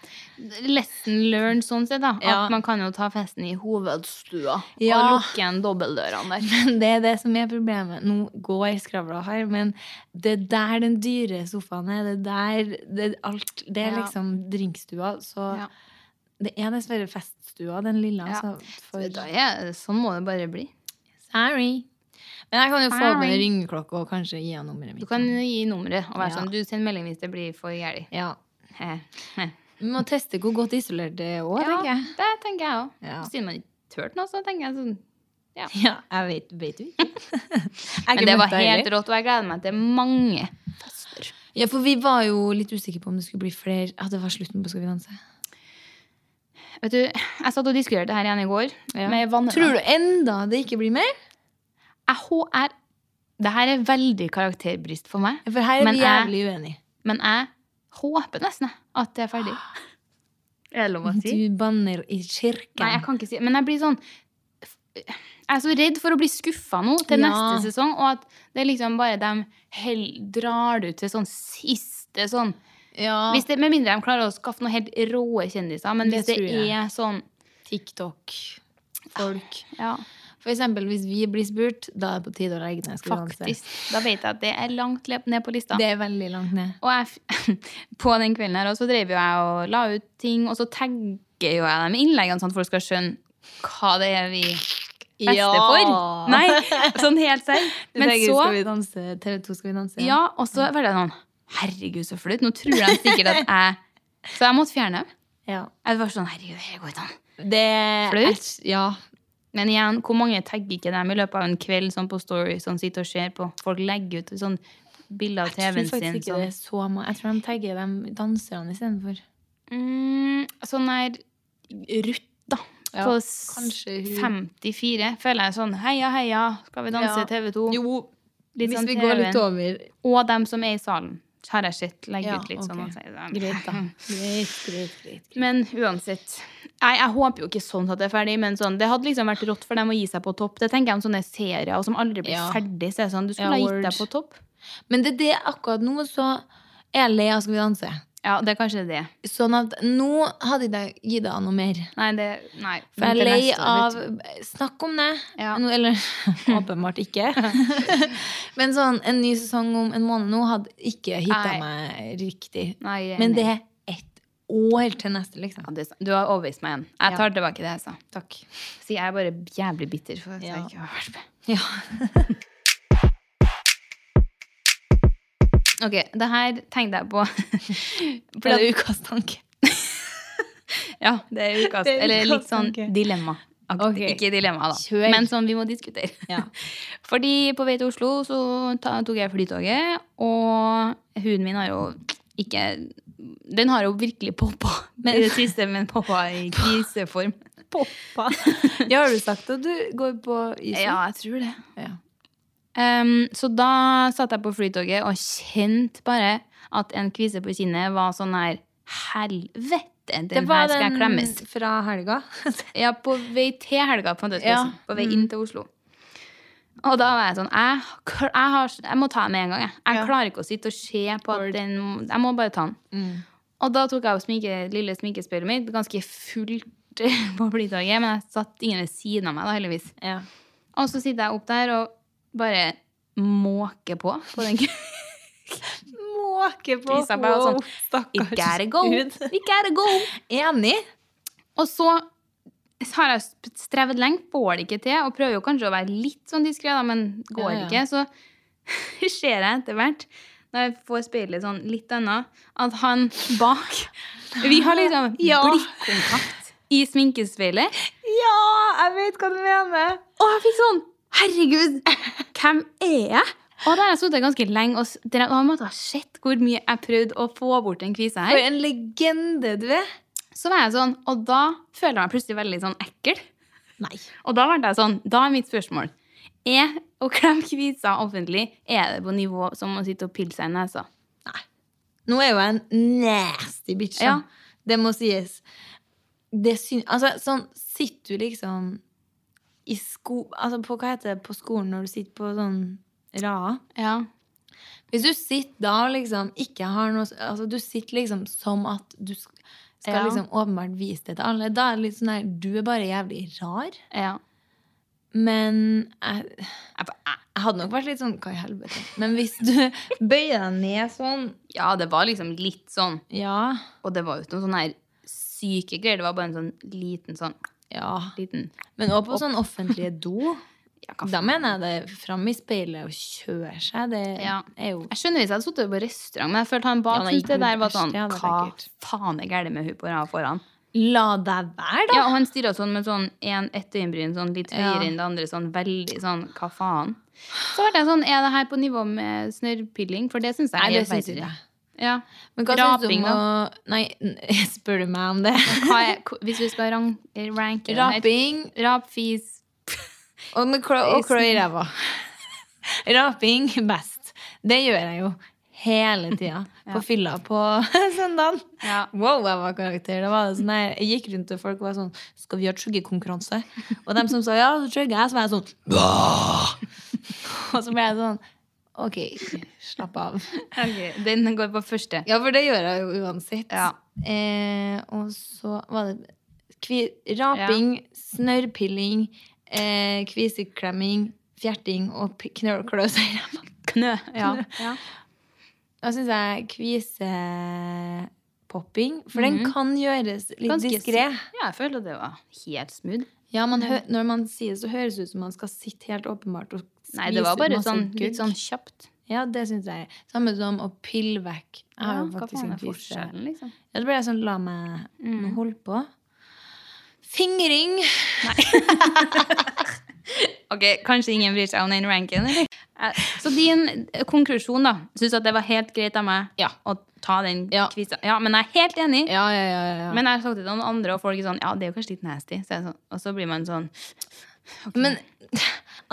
[SPEAKER 2] Lesson learned sånn sett, da.
[SPEAKER 1] Ja.
[SPEAKER 2] At man kan jo ta festen i hovedstua
[SPEAKER 1] Ja.
[SPEAKER 2] og lukke igjen dobbeltdørene der.
[SPEAKER 1] Men det er det som er problemet. Nå går skravla her, men det er der den dyre sofaen er. Det er der det, er alt, det er
[SPEAKER 2] Ja.
[SPEAKER 1] liksom drinkstua. Så
[SPEAKER 2] Ja.
[SPEAKER 1] det er dessverre feststua, den lille.
[SPEAKER 2] Ja.
[SPEAKER 1] Altså, for,
[SPEAKER 2] Så da er- Sånn må det bare bli.
[SPEAKER 1] sorry. Men jeg kan jo få
[SPEAKER 2] Sorry.
[SPEAKER 1] med ringeklokke og kanskje gi henne nummeret mitt.
[SPEAKER 2] Du kan gi nummeret og være
[SPEAKER 1] Ja.
[SPEAKER 2] sånn Du send melding hvis det blir for gærent.
[SPEAKER 1] ja.
[SPEAKER 2] He. He.
[SPEAKER 1] Vi må teste hvor godt isolert det er òg, tenker
[SPEAKER 2] Ja,
[SPEAKER 1] jeg.
[SPEAKER 2] det tenker jeg òg. <laughs>
[SPEAKER 1] Ja.
[SPEAKER 2] Siden man ikke turte noe, så tenker jeg sånn
[SPEAKER 1] Ja, jeg vet, vet jo <laughs> ikke.
[SPEAKER 2] Men det var helt rått, og jeg gleder meg til mange fester.
[SPEAKER 1] Ja, for vi var jo litt usikre på om det skulle bli flere At det var slutten på Skal vi danse.
[SPEAKER 2] Vet du, Jeg satt og diskuterte det her igjen i går med venner.
[SPEAKER 1] Tror du enda det ikke blir mer?
[SPEAKER 2] Jeg hå- er- Det her er veldig karakterbrist for meg,
[SPEAKER 1] For her er
[SPEAKER 2] Men
[SPEAKER 1] vi
[SPEAKER 2] jeg-
[SPEAKER 1] jævlig uenige.
[SPEAKER 2] men jeg håper nesten jeg, at det
[SPEAKER 1] <gasps>
[SPEAKER 2] er ferdig. Er det lov
[SPEAKER 1] Du banner i
[SPEAKER 2] Nei, jeg
[SPEAKER 1] kirken.
[SPEAKER 2] kan ikke si Men jeg blir sånn Jeg er så redd for å bli skuffa nå til
[SPEAKER 1] Ja.
[SPEAKER 2] neste sesong, og at det er liksom bare de hell, drar det ut til sånn siste sånn
[SPEAKER 1] Ja,
[SPEAKER 2] hvis det, Med mindre de klarer å skaffe noen helt rå kjendiser, men
[SPEAKER 1] Det
[SPEAKER 2] hvis det,
[SPEAKER 1] tror jeg.
[SPEAKER 2] er sånn
[SPEAKER 1] TikTok. Folk.
[SPEAKER 2] Ja,
[SPEAKER 1] For eksempel, hvis vi blir spurt, da er det på tide å legge ned Skal vi danse.
[SPEAKER 2] faktisk. Da vet jeg at det er langt le- ned på lista.
[SPEAKER 1] Det er veldig langt ned.
[SPEAKER 2] Og jeg, f- <laughs> på den kvelden her også drev jo jeg og la ut ting, og så tagger jo jeg dem i innleggene sånn at folk skal skjønne hva det er vi fester for. Nei, sånn helt <laughs> selv.
[SPEAKER 1] Du
[SPEAKER 2] Men
[SPEAKER 1] tenker,
[SPEAKER 2] så
[SPEAKER 1] Skal vi danse? TV2 Skal vi danse?
[SPEAKER 2] Ja, og så var det sånn Herregud, så flaut. Nå tror de sikkert at <laughs> jeg Så jeg måtte fjerne dem.
[SPEAKER 1] ja.
[SPEAKER 2] Jeg var sånn, herregud, det går ikke an.
[SPEAKER 1] Det
[SPEAKER 2] Flaut?
[SPEAKER 1] Ja.
[SPEAKER 2] Men igjen, hvor mange tagger ikke dem i løpet av en kveld sånn på Story som sitter og ser på? Folk legger ut sånn bilder av
[SPEAKER 1] Jeg tror
[SPEAKER 2] TV-en
[SPEAKER 1] faktisk
[SPEAKER 2] sin.
[SPEAKER 1] ikke det
[SPEAKER 2] Sånn.
[SPEAKER 1] er så mange. Jeg tror de tagger de danserne istedenfor.
[SPEAKER 2] Mm, sånn der Ruth, da.
[SPEAKER 1] Ja,
[SPEAKER 2] på
[SPEAKER 1] kanskje hun-
[SPEAKER 2] 54 føler jeg sånn Heia, heia, skal vi danse
[SPEAKER 1] Ja.
[SPEAKER 2] TV2?
[SPEAKER 1] Jo,
[SPEAKER 2] Litt
[SPEAKER 1] hvis
[SPEAKER 2] sånn
[SPEAKER 1] vi går
[SPEAKER 2] TV.
[SPEAKER 1] litt over.
[SPEAKER 2] Og dem som er i salen, har jeg sett legge
[SPEAKER 1] Ja,
[SPEAKER 2] ut litt sånn.
[SPEAKER 1] ok.
[SPEAKER 2] og si sånn,
[SPEAKER 1] Greit, da. Greit, greit, greit.
[SPEAKER 2] <laughs> Men uansett. Nei, jeg håper jo ikke sånn at det er ferdig, men sånn, det hadde liksom vært rått for dem å gi seg på topp. Det tenker jeg om sånne serier som aldri blir
[SPEAKER 1] Ja.
[SPEAKER 2] ferdig. Så er det sånn, du
[SPEAKER 1] Ja,
[SPEAKER 2] skulle ha gitt
[SPEAKER 1] word.
[SPEAKER 2] deg på topp.
[SPEAKER 1] Men det er det akkurat nå, så er jeg lei av Skal vi danse.
[SPEAKER 2] Ja, det er kanskje det.
[SPEAKER 1] Sånn at nå hadde jeg ikke gitt deg noe mer.
[SPEAKER 2] Nei, det Nei.
[SPEAKER 1] For jeg
[SPEAKER 2] til
[SPEAKER 1] er lei
[SPEAKER 2] neste år,
[SPEAKER 1] av
[SPEAKER 2] vet
[SPEAKER 1] Snakk om det.
[SPEAKER 2] Ja.
[SPEAKER 1] Nå- Eller <laughs> åpenbart ikke. <laughs> Men sånn en ny sesong om en måned nå hadde ikke hitta
[SPEAKER 2] Nei.
[SPEAKER 1] meg riktig.
[SPEAKER 2] du. Nei,
[SPEAKER 1] Men det
[SPEAKER 2] nei.
[SPEAKER 1] er ett år til neste, liksom.
[SPEAKER 2] Ja, det er sant. Du har overbevist meg igjen.
[SPEAKER 1] Ja.
[SPEAKER 2] Jeg tar tilbake det jeg sa.
[SPEAKER 1] Takk.
[SPEAKER 2] Så jeg er bare jævlig bitter for at
[SPEAKER 1] Ja.
[SPEAKER 2] jeg ikke har vært med.
[SPEAKER 1] Ja.
[SPEAKER 2] <laughs> Ok, det her tenkte jeg <laughs> på.
[SPEAKER 1] For det er ukas tanke.
[SPEAKER 2] ja, det er ukas
[SPEAKER 1] Det er
[SPEAKER 2] Eller
[SPEAKER 1] ukas
[SPEAKER 2] litt sånn
[SPEAKER 1] tanke.
[SPEAKER 2] dilemma. Aktig,
[SPEAKER 1] Ok.
[SPEAKER 2] Ikke dilemma, da.
[SPEAKER 1] Kjør.
[SPEAKER 2] Men sånn, vi må diskutere.
[SPEAKER 1] Ja.
[SPEAKER 2] <laughs> Fordi på vei til Oslo så ta, tok jeg flytoget, og huden min har jo ikke Den har jo virkelig poppa i det siste, men poppa <laughs> i kriseform.
[SPEAKER 1] Poppa. <laughs> Ja, har du sagt at du går på isen?
[SPEAKER 2] Ja, jeg tror det.
[SPEAKER 1] Ja.
[SPEAKER 2] Em, så da satt jeg på flytoget og kjente bare at en kvise på kinnet var sånn her Helvete, den
[SPEAKER 1] Det var
[SPEAKER 2] her skal jeg klemmes.
[SPEAKER 1] den fra <laughs> helga.
[SPEAKER 2] Ja, på vei til helga, på en måte. skal
[SPEAKER 1] Ja. Mm.
[SPEAKER 2] jeg si. På vei inn til Oslo. Og da var jeg sånn Jeg, kl- jeg, har, jeg må ta den med en gang. Jeg, jeg
[SPEAKER 1] Ja.
[SPEAKER 2] klarer ikke å sitte og se på at
[SPEAKER 1] Word.
[SPEAKER 2] den Jeg må bare ta den.
[SPEAKER 1] Mm,
[SPEAKER 2] Og da tok jeg opp sminke, lille sminkespeilet mitt, ganske fullt <laughs> på flytoget, men jeg satt ingen ved siden av meg, da, heldigvis.
[SPEAKER 1] Ja.
[SPEAKER 2] Og så sitter jeg opp der og bare måker på. på den kvelden.
[SPEAKER 1] Måke på
[SPEAKER 2] Isabel og sånn, It gotta go! It gotta go!
[SPEAKER 1] Enig.
[SPEAKER 2] Og så har jeg sp- strevd lenge, får det ikke til, og prøver jo kanskje å være litt sånn diskré, da, men går
[SPEAKER 1] Ja, ja.
[SPEAKER 2] ikke. Så <laughs> ser jeg etter hvert, når jeg får speilet sånn litt annet, at han bak Vi har liksom
[SPEAKER 1] Ja.
[SPEAKER 2] blikkontakt i sminkespeilet.
[SPEAKER 1] Ja, jeg vet hva du mener.
[SPEAKER 2] Og jeg fikk sånn Herregud, hvem er jeg? Og da har jeg sittet ganske lenge og s- dere- og han måtte ha sett hvor mye jeg prøvde å få bort den kvisa her.
[SPEAKER 1] For en legende du er.
[SPEAKER 2] Så var jeg sånn, Og da føler jeg meg plutselig veldig sånn ekkel.
[SPEAKER 1] Nei.
[SPEAKER 2] Og da ble jeg sånn, da er mitt spørsmål Er å klemme kvisa offentlig Er det på nivå som å sitte og pille seg i nesa?
[SPEAKER 1] Nå er jo jeg en nasty bitch. da.
[SPEAKER 2] Ja.
[SPEAKER 1] Det må sies. Det syn... Altså, sånn sitter du liksom i sko... Altså, på, hva heter det på skolen når du sitter på sånn rad?
[SPEAKER 2] Ja,
[SPEAKER 1] Hvis du sitter da og liksom ikke har noe Altså, du sitter liksom som at du sk- skal
[SPEAKER 2] Ja.
[SPEAKER 1] liksom åpenbart vise det til alle. Da er det litt sånn her Du er bare jævlig rar.
[SPEAKER 2] ja.
[SPEAKER 1] Men jeg,
[SPEAKER 2] Jeg ba- æ.
[SPEAKER 1] jeg hadde nok vært litt sånn Hva i helvete? Men hvis
[SPEAKER 2] <laughs>
[SPEAKER 1] du bøyer deg ned sånn
[SPEAKER 2] ja, det var liksom litt sånn
[SPEAKER 1] Ja.
[SPEAKER 2] Og det var jo ikke noen sånne her syke greier Det var bare en sånn liten sånn
[SPEAKER 1] Ja.
[SPEAKER 2] liten,
[SPEAKER 1] Men også på sånn offentlige do.
[SPEAKER 2] ja, hva
[SPEAKER 1] Da
[SPEAKER 2] faen?
[SPEAKER 1] mener jeg det fram i speilet og kjøre seg. Det
[SPEAKER 2] Ja.
[SPEAKER 1] er jo
[SPEAKER 2] Jeg skjønner hvis jeg hadde sittet på restaurant Men jeg følte han bak
[SPEAKER 1] Ja, nei,
[SPEAKER 2] syntes det der var sånn
[SPEAKER 1] det hadde
[SPEAKER 2] Hva
[SPEAKER 1] vært ekkelt.
[SPEAKER 2] faen er gærlig med hun på rad foran?
[SPEAKER 1] La deg være, da!
[SPEAKER 2] Ja, og han stirra sånn med sånn en, ett øyenbryn sånn litt
[SPEAKER 1] Ja.
[SPEAKER 2] høyere enn det andre. Sånn veldig sånn hva faen. Så ble jeg sånn, er det her på nivå med snørrpilling? For det syns jeg
[SPEAKER 1] Nei, det
[SPEAKER 2] er
[SPEAKER 1] syns ikke
[SPEAKER 2] verre.
[SPEAKER 1] jeg.
[SPEAKER 2] Ja.
[SPEAKER 1] Men hva syns du
[SPEAKER 2] Raping,
[SPEAKER 1] om å Nei, <laughs> spør du meg om
[SPEAKER 2] <laughs>
[SPEAKER 1] det?
[SPEAKER 2] Hva er, k- hvis vi skal rank, eh, ranke det her.
[SPEAKER 1] Raping
[SPEAKER 2] Rap, fis
[SPEAKER 1] Og, med klø, og <laughs> klø i ræva. Raping best. Det gjør jeg jo <laughs> hele tida. På fylla på <laughs> søndagen.
[SPEAKER 2] Ja.
[SPEAKER 1] Wow, jeg var karakter. Det var sånn her, jeg gikk rundt til folk og var sånn Skal vi ha truggekonkurranse? Og dem som sa ja, så trugger jeg, så var jeg <laughs> sånn «Bah!» Og så ble jeg sånn Ok, slapp av.
[SPEAKER 2] Den går på første.
[SPEAKER 1] Ja, for det gjør jeg jo uansett.
[SPEAKER 2] Ja.
[SPEAKER 1] Eh, og så var det kvi, raping, snørrpilling, eh, kviseklemming, fjerting og p- knø- klø <laughs> seg i ræva.
[SPEAKER 2] Knø. Ja.
[SPEAKER 1] Knø.
[SPEAKER 2] Ja.
[SPEAKER 1] Da syns jeg kvisepopping For den kan gjøres litt
[SPEAKER 2] Ganske
[SPEAKER 1] diskré. Mm.
[SPEAKER 2] ja, jeg føler det var helt smooth.
[SPEAKER 1] Ja, man hø når man sier det, så høres det ut som man skal sitte helt åpenbart og skvise
[SPEAKER 2] Nei, det var
[SPEAKER 1] ut
[SPEAKER 2] bare
[SPEAKER 1] masse
[SPEAKER 2] sånn,
[SPEAKER 1] gugg.
[SPEAKER 2] litt sånn kjapt.
[SPEAKER 1] Ja, det syns jeg. Samme som å pille vekk. Jeg har
[SPEAKER 2] Ja,
[SPEAKER 1] jo
[SPEAKER 2] hva
[SPEAKER 1] faktisk eh.
[SPEAKER 2] faen
[SPEAKER 1] en
[SPEAKER 2] er
[SPEAKER 1] kvise.
[SPEAKER 2] forskjellen, liksom?
[SPEAKER 1] Ja, det ble jeg sånn, la meg nå holde på. Fingring!
[SPEAKER 2] Ok, Kanskje ingen bryr seg om den ranken? eller? Eh, Så din eh, konklusjon, da. Syns at det var helt greit av meg
[SPEAKER 1] Ja.
[SPEAKER 2] å ta den
[SPEAKER 1] Ja.
[SPEAKER 2] kvisa? Ja, men jeg er helt enig.
[SPEAKER 1] Ja, ja, ja. ja. Men,
[SPEAKER 2] Men jeg har sagt det til noen andre, og folk er sånn Ja, det er jo kanskje litt nasty. Så jeg er sånn, og så blir man sånn
[SPEAKER 1] men <laughs>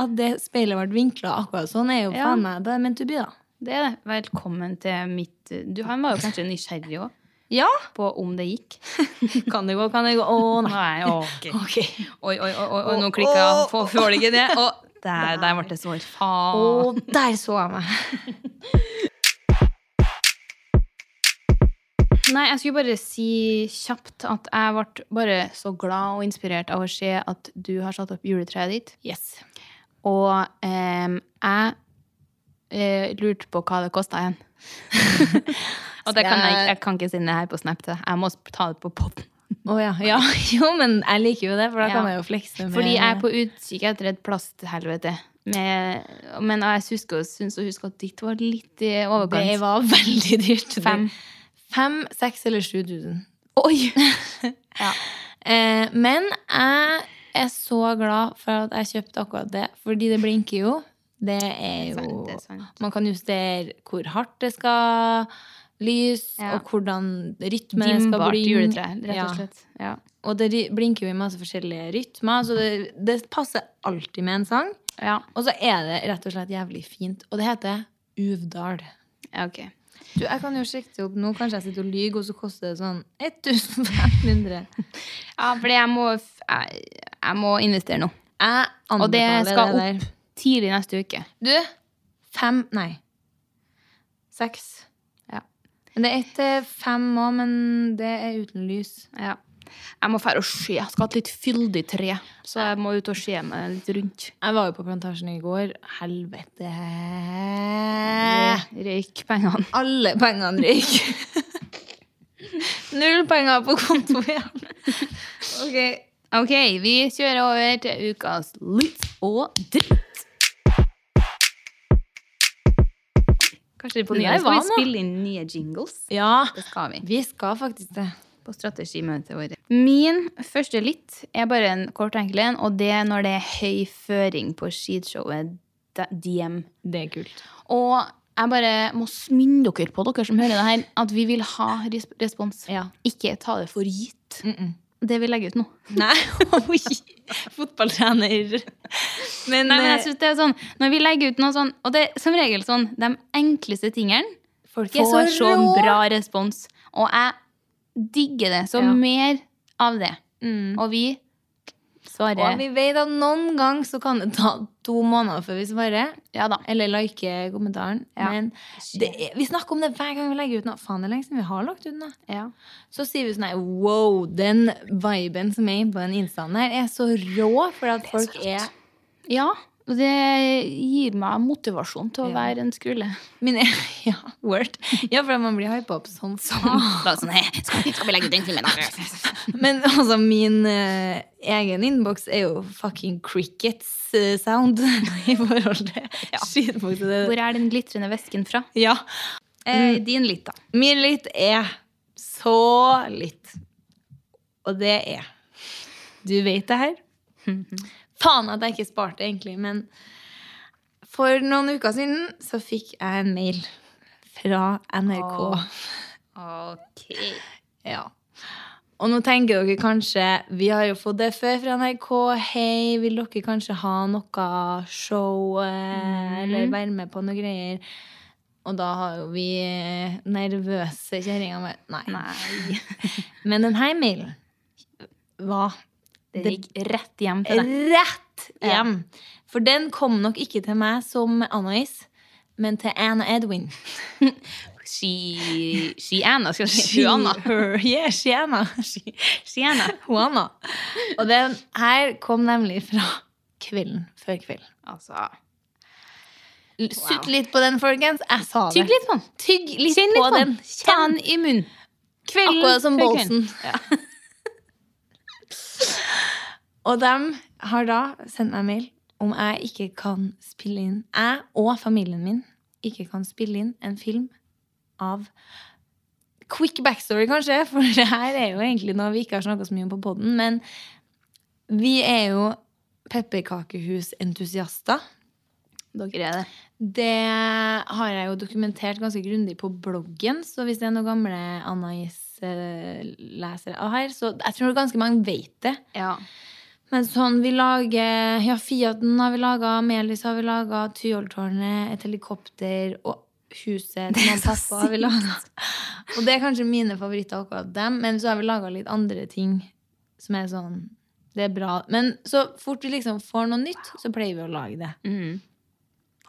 [SPEAKER 1] at det speilet ble vinkla akkurat sånn, er jo
[SPEAKER 2] Ja.
[SPEAKER 1] faen meg Det er meant to be, da.
[SPEAKER 2] Det er det. Velkommen til mitt Du, han var jo kanskje nysgjerrig òg,
[SPEAKER 1] Ja!
[SPEAKER 2] på om det gikk.
[SPEAKER 1] <laughs> Kan det gå, kan det gå? Å, nei.
[SPEAKER 2] Nei, ok.
[SPEAKER 1] Ok.
[SPEAKER 2] Oi, oi, oi, oi, oi nå
[SPEAKER 1] Å,
[SPEAKER 2] klikka jeg.
[SPEAKER 1] å,
[SPEAKER 2] Får får det ikke det? Og der, der ble det sår.
[SPEAKER 1] Å,
[SPEAKER 2] Faen.
[SPEAKER 1] der så jeg meg.
[SPEAKER 2] Nei, jeg skulle bare si kjapt at jeg ble bare så glad og inspirert av å se at du har satt opp juletreet ditt.
[SPEAKER 1] Yes.
[SPEAKER 2] Og em, jeg eh, lurte på hva det kosta igjen. <laughs> og det kan jeg, ikke- jeg kan ikke sende det her på Snap til deg. Jeg må sp- ta det på potten.
[SPEAKER 1] Å ja. ja. <laughs> Jo, men jeg liker jo det, for da
[SPEAKER 2] Ja.
[SPEAKER 1] kan jeg jo flekse med
[SPEAKER 2] Fordi jeg er på utkikk etter et plasthelvete. Med, men jeg husker, syns å huske at ditt var litt i overkant.
[SPEAKER 1] Det var veldig dyrt.
[SPEAKER 2] Fem.
[SPEAKER 1] Fem, <laughs> seks eller sju tusen.
[SPEAKER 2] Oi!
[SPEAKER 1] Eh, men jeg er så glad for at jeg kjøpte akkurat det, fordi det blinker jo. Det er jo
[SPEAKER 2] Sant, det er sant.
[SPEAKER 1] Man kan justere hvor hardt det skal lys,
[SPEAKER 2] Ja.
[SPEAKER 1] og hvordan rytmen skal
[SPEAKER 2] Dimbart
[SPEAKER 1] bli.
[SPEAKER 2] juletre, rett
[SPEAKER 1] Ja.
[SPEAKER 2] og slett. Ja.
[SPEAKER 1] Og det ri- blinker jo i masse forskjellige rytmer, så det, det passer alltid med en sang.
[SPEAKER 2] Ja.
[SPEAKER 1] Og så er det rett og slett jævlig fint. Og det heter Uvdal.
[SPEAKER 2] ja, ok.
[SPEAKER 1] Du, jeg kan jo sjekke det opp nå. Kanskje jeg sitter og lyver, og så koster det sånn 1500.
[SPEAKER 2] Ja, for jeg må, f- jeg, jeg må investere nå.
[SPEAKER 1] Jeg
[SPEAKER 2] Og det
[SPEAKER 1] anbefaler
[SPEAKER 2] skal
[SPEAKER 1] det der.
[SPEAKER 2] opp tidlig neste uke.
[SPEAKER 1] Du, fem Nei. Seks.
[SPEAKER 2] Ja.
[SPEAKER 1] Men det er ett til fem òg, men det er uten lys.
[SPEAKER 2] Ja. Jeg må fære og se. Jeg skal ha et litt fyldig tre. Så jeg må ut og se meg litt rundt.
[SPEAKER 1] Jeg var jo på plantasjen i går. Helvete.
[SPEAKER 2] Eh. Røyk pengene. <laughs>
[SPEAKER 1] Alle pengene røyk. Null penger på konto igjen. <laughs> Ok.
[SPEAKER 2] Ok, vi kjører over til ukas lytt og dritt. Kanskje det på
[SPEAKER 1] Det
[SPEAKER 2] nye
[SPEAKER 1] der
[SPEAKER 2] skal
[SPEAKER 1] var
[SPEAKER 2] vi
[SPEAKER 1] noe.
[SPEAKER 2] spille inn nye jingles.
[SPEAKER 1] Ja,
[SPEAKER 2] Det skal vi.
[SPEAKER 1] vi skal faktisk det.
[SPEAKER 2] På strategimøtet vårt. Min første lytt er bare en kort enkel en, og det er når det er høy føring på skishowet D- DM
[SPEAKER 1] Det er kult.
[SPEAKER 2] Og jeg bare må smynde dere på, dere som hører det her, at vi vil ha ris- respons.
[SPEAKER 1] Ja.
[SPEAKER 2] Ikke ta det for gitt.
[SPEAKER 1] Mm -mm.
[SPEAKER 2] Det vi legger ut nå.
[SPEAKER 1] Nei, <laughs> oi! Fotballtrener. Men,
[SPEAKER 2] Nei, men jeg
[SPEAKER 1] eh,
[SPEAKER 2] synes det er sånn, Når vi legger ut noe sånn Og det er som regel sånn de enkleste tingene
[SPEAKER 1] folk
[SPEAKER 2] får så,
[SPEAKER 1] rå.
[SPEAKER 2] bra respons. Og jeg digger det. Så
[SPEAKER 1] Ja.
[SPEAKER 2] mer av det.
[SPEAKER 1] Mm.
[SPEAKER 2] Og vi
[SPEAKER 1] Og
[SPEAKER 2] svarer
[SPEAKER 1] vi vet at noen gang så kan det ta to måneder før vi svarer.
[SPEAKER 2] Ja da.
[SPEAKER 1] Eller liker kommentaren.
[SPEAKER 2] Ja.
[SPEAKER 1] Men det, er- vi snakker om det hver gang vi legger ut noe. Faen, det er lenge siden vi har lagt ut noe.
[SPEAKER 2] Ja.
[SPEAKER 1] Så sier vi sånn her Wow, den viben som er på den instaen her, er så rå. For at folk
[SPEAKER 2] rått.
[SPEAKER 1] er
[SPEAKER 2] ja. Og det gir meg motivasjon til å
[SPEAKER 1] Ja.
[SPEAKER 2] være en skrulle. <laughs>
[SPEAKER 1] Mine, e- <laughs> ja, word. ja, for at man blir hypa opp sånn som
[SPEAKER 2] Bare sånn, «Hei, skal, skal vi legge ut den filmen? da?»
[SPEAKER 1] Men altså, min eh, egen innboks er jo fucking crickets eh, sound <laughs> i forhold til ja. skyteboks.
[SPEAKER 2] <laughs> Hvor er den glitrende væsken fra?
[SPEAKER 1] Ja.
[SPEAKER 2] Eh, Din litt, da.
[SPEAKER 1] Min litt er så litt. Og det er Du vet det her? <laughs> Faen at jeg ikke sparte, egentlig, men for noen uker siden så fikk jeg en mail fra NRK.
[SPEAKER 2] Åh. Ok.
[SPEAKER 1] Ja. Og nå tenker dere kanskje Vi har jo fått det før fra NRK. Hei, vil dere kanskje ha noe show? eh, Eller være med på noe greier? Og da har jo vi eh, nervøse kjerringa vår Nei.
[SPEAKER 2] Nei.
[SPEAKER 1] Men denne mailen var
[SPEAKER 2] Det
[SPEAKER 1] Det-
[SPEAKER 2] gikk rett hjem til deg.
[SPEAKER 1] rett hjem. For den kom nok ikke til meg som Anna-Is, men til Anna <laughs> Edwin.
[SPEAKER 2] She, she Anna, skal jeg si. Hun Anna.
[SPEAKER 1] <laughs> her, yeah, she Anna. She,
[SPEAKER 2] She Anna.
[SPEAKER 1] Juana. Og den her kom nemlig fra kvelden før kvelden.
[SPEAKER 2] Altså,
[SPEAKER 1] L- Sutt litt på den, folkens. Jeg sa det.
[SPEAKER 2] tygg litt på den.
[SPEAKER 1] Tygg litt
[SPEAKER 2] Kjenn
[SPEAKER 1] på
[SPEAKER 2] litt på
[SPEAKER 1] den.
[SPEAKER 2] den. Ta den i munnen. Kvelden
[SPEAKER 1] Akkurat som
[SPEAKER 2] før kvelden.
[SPEAKER 1] Bolsen. Og de har da sendt meg mail om jeg ikke kan spille inn Jeg og familien min ikke kan spille inn en film av Quick backstory, kanskje, <laughs> for det her er jo egentlig noe vi ikke har snakka så mye om på poden. Men vi er jo pepperkakehusentusiaster.
[SPEAKER 2] Dere er det.
[SPEAKER 1] Det har jeg jo dokumentert ganske grundig på bloggen, så hvis det er noen gamle Anais-lesere her, så jeg tror ganske mange vet det.
[SPEAKER 2] Ja.
[SPEAKER 1] Men sånn, vi lager Ja, Fiaten har vi laga, Melis har vi laga, Tyholttårnet, et helikopter og huset til mamma og
[SPEAKER 2] så
[SPEAKER 1] pappa har vi laga. Og det er kanskje mine favoritter, akkurat dem, men så har vi laga litt andre ting som er sånn Det er bra. Men så fort vi liksom får noe nytt, så pleier vi å lage det.
[SPEAKER 2] Mm.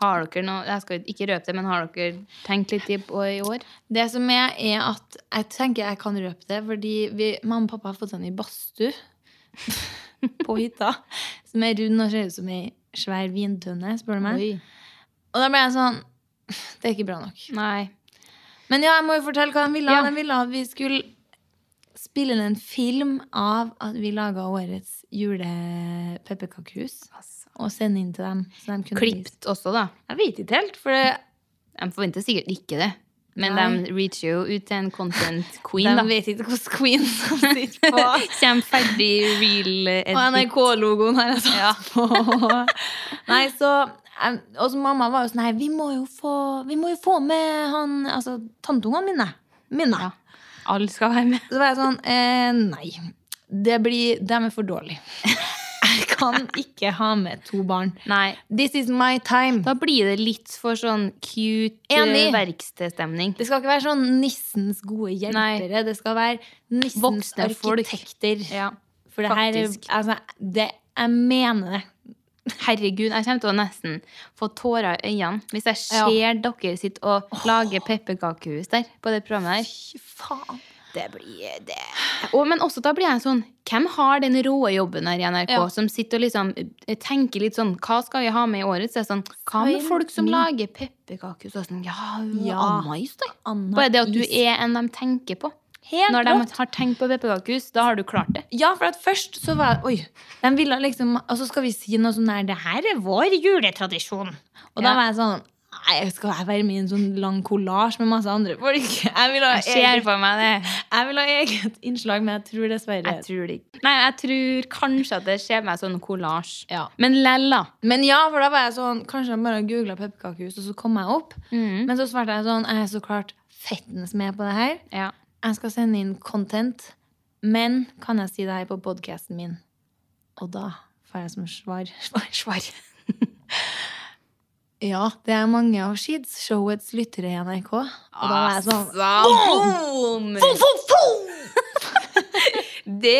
[SPEAKER 2] Har dere noe Jeg skal ikke røpe det, men har dere tenkt litt i, på i år?
[SPEAKER 1] Det som er, er at jeg tenker jeg kan røpe det, fordi vi, mamma og pappa har fått sånn i badstue <laughs> på hytta, som er rund og ser ut som ei svær vintønne, spør du meg.
[SPEAKER 2] Oi.
[SPEAKER 1] Og da ble jeg sånn Det er ikke bra nok.
[SPEAKER 2] Nei.
[SPEAKER 1] Men ja, jeg må jo fortelle hva de ville.
[SPEAKER 2] Ja.
[SPEAKER 1] De ville at vi skulle spille inn en film av at vi laga årets julepepperkakehus,
[SPEAKER 2] Altså.
[SPEAKER 1] og sende inn til dem. Så de kunne vise.
[SPEAKER 2] Klippet også, da.
[SPEAKER 1] Jeg vet ikke helt, for det
[SPEAKER 2] De forventer sikkert ikke det. Men
[SPEAKER 1] Nei.
[SPEAKER 2] de reacher jo ut til en
[SPEAKER 1] <laughs>
[SPEAKER 2] content queen,
[SPEAKER 1] De
[SPEAKER 2] <laughs> da.
[SPEAKER 1] vet ikke hvordan Queen som sitter på.
[SPEAKER 2] Kjem ferdig real edit.
[SPEAKER 1] <laughs> Og NRK-logoen har jeg <laughs> satt
[SPEAKER 2] Ja.
[SPEAKER 1] på. Nei, så em, Og så mamma var jo sånn Nei, vi må jo få, vi må jo få med han Altså tanteungene mine. Mine.
[SPEAKER 2] <laughs> Ja. Alle skal være med.
[SPEAKER 1] Så var jeg sånn eh, Nei. Det blir, dem er for dårlig. <laughs> Jeg kan ikke ha med to barn.
[SPEAKER 2] Nei.
[SPEAKER 1] This is my time.
[SPEAKER 2] Da blir det litt for sånn cute
[SPEAKER 1] Enig.
[SPEAKER 2] eh, verkstedstemning.
[SPEAKER 1] Det skal ikke være sånn nissens gode hjelpere. Det skal være nissens
[SPEAKER 2] Voksne folk.
[SPEAKER 1] arkitekter.
[SPEAKER 2] Ja.
[SPEAKER 1] For det her er
[SPEAKER 2] Faktisk.
[SPEAKER 1] altså, det, Jeg mener det.
[SPEAKER 2] Herregud, jeg kommer til å nesten få tårer i øynene hvis jeg ser
[SPEAKER 1] Ja.
[SPEAKER 2] dere sitte og lage pepperkakehus der på det programmet
[SPEAKER 1] Fy
[SPEAKER 2] der.
[SPEAKER 1] faen.
[SPEAKER 2] Det blir det. Og, men også da blir jeg sånn Hvem har den rå jobben her i NRK
[SPEAKER 1] Ja.
[SPEAKER 2] som sitter og liksom eh, tenker litt sånn Hva skal vi ha med i året? Så er det sånn Hva med
[SPEAKER 1] Svein
[SPEAKER 2] folk som
[SPEAKER 1] Min.
[SPEAKER 2] lager pepperkakehus? Og sånn, ja, ja.
[SPEAKER 1] Ja.
[SPEAKER 2] mais, da.
[SPEAKER 1] Anna
[SPEAKER 2] Bare det at du
[SPEAKER 1] Is.
[SPEAKER 2] er en de tenker på.
[SPEAKER 1] Helt
[SPEAKER 2] Når de
[SPEAKER 1] rått.
[SPEAKER 2] har tenkt på pepperkakehus, da har du klart det.
[SPEAKER 1] Ja, for at først så var Oi. De ville liksom Og så skal vi si noe sånn der Det her er vår juletradisjon. Og da
[SPEAKER 2] Ja.
[SPEAKER 1] var jeg sånn Nei, skal jeg være med i en sånn lang kollasj med masse andre folk? <laughs> Jeg vil ha
[SPEAKER 2] Jeg ser
[SPEAKER 1] eget,
[SPEAKER 2] for meg det.
[SPEAKER 1] jeg vil ha eget innslag, men jeg tror dessverre
[SPEAKER 2] Jeg tror det ikke. Nei, jeg tror kanskje at det skjer meg sånn kollasj.
[SPEAKER 1] Ja.
[SPEAKER 2] Men lella.
[SPEAKER 1] Men ja, for da var jeg sånn Kanskje jeg bare googla pepperkakehus, og så kom jeg opp.
[SPEAKER 2] Mm.
[SPEAKER 1] Men så svarte jeg sånn Jeg er så klart fettens med på det her.
[SPEAKER 2] Ja.
[SPEAKER 1] Jeg skal sende inn content. Men kan jeg si det her på podkasten min? Og da får jeg som svar <laughs> Svar. svar. ja, det er mange av Sheeds, showets lyttere i NRK. Og da var jeg sånn
[SPEAKER 2] Altså, Boom! Det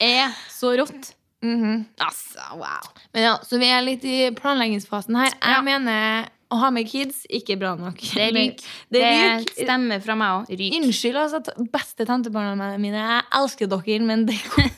[SPEAKER 2] er så rått.
[SPEAKER 1] mhm.
[SPEAKER 2] Altså, wow.
[SPEAKER 1] Men ja, Så vi er litt i planleggingsfasen her. Jeg
[SPEAKER 2] Ja.
[SPEAKER 1] mener å ha med kids ikke bra nok.
[SPEAKER 2] Det ryker.
[SPEAKER 1] Det
[SPEAKER 2] Det,
[SPEAKER 1] er ryk.
[SPEAKER 2] stemmer fra meg òg. Ryk.
[SPEAKER 1] Unnskyld, altså. t- Beste tantebarna mine. Jeg elsker dere, men det <laughs>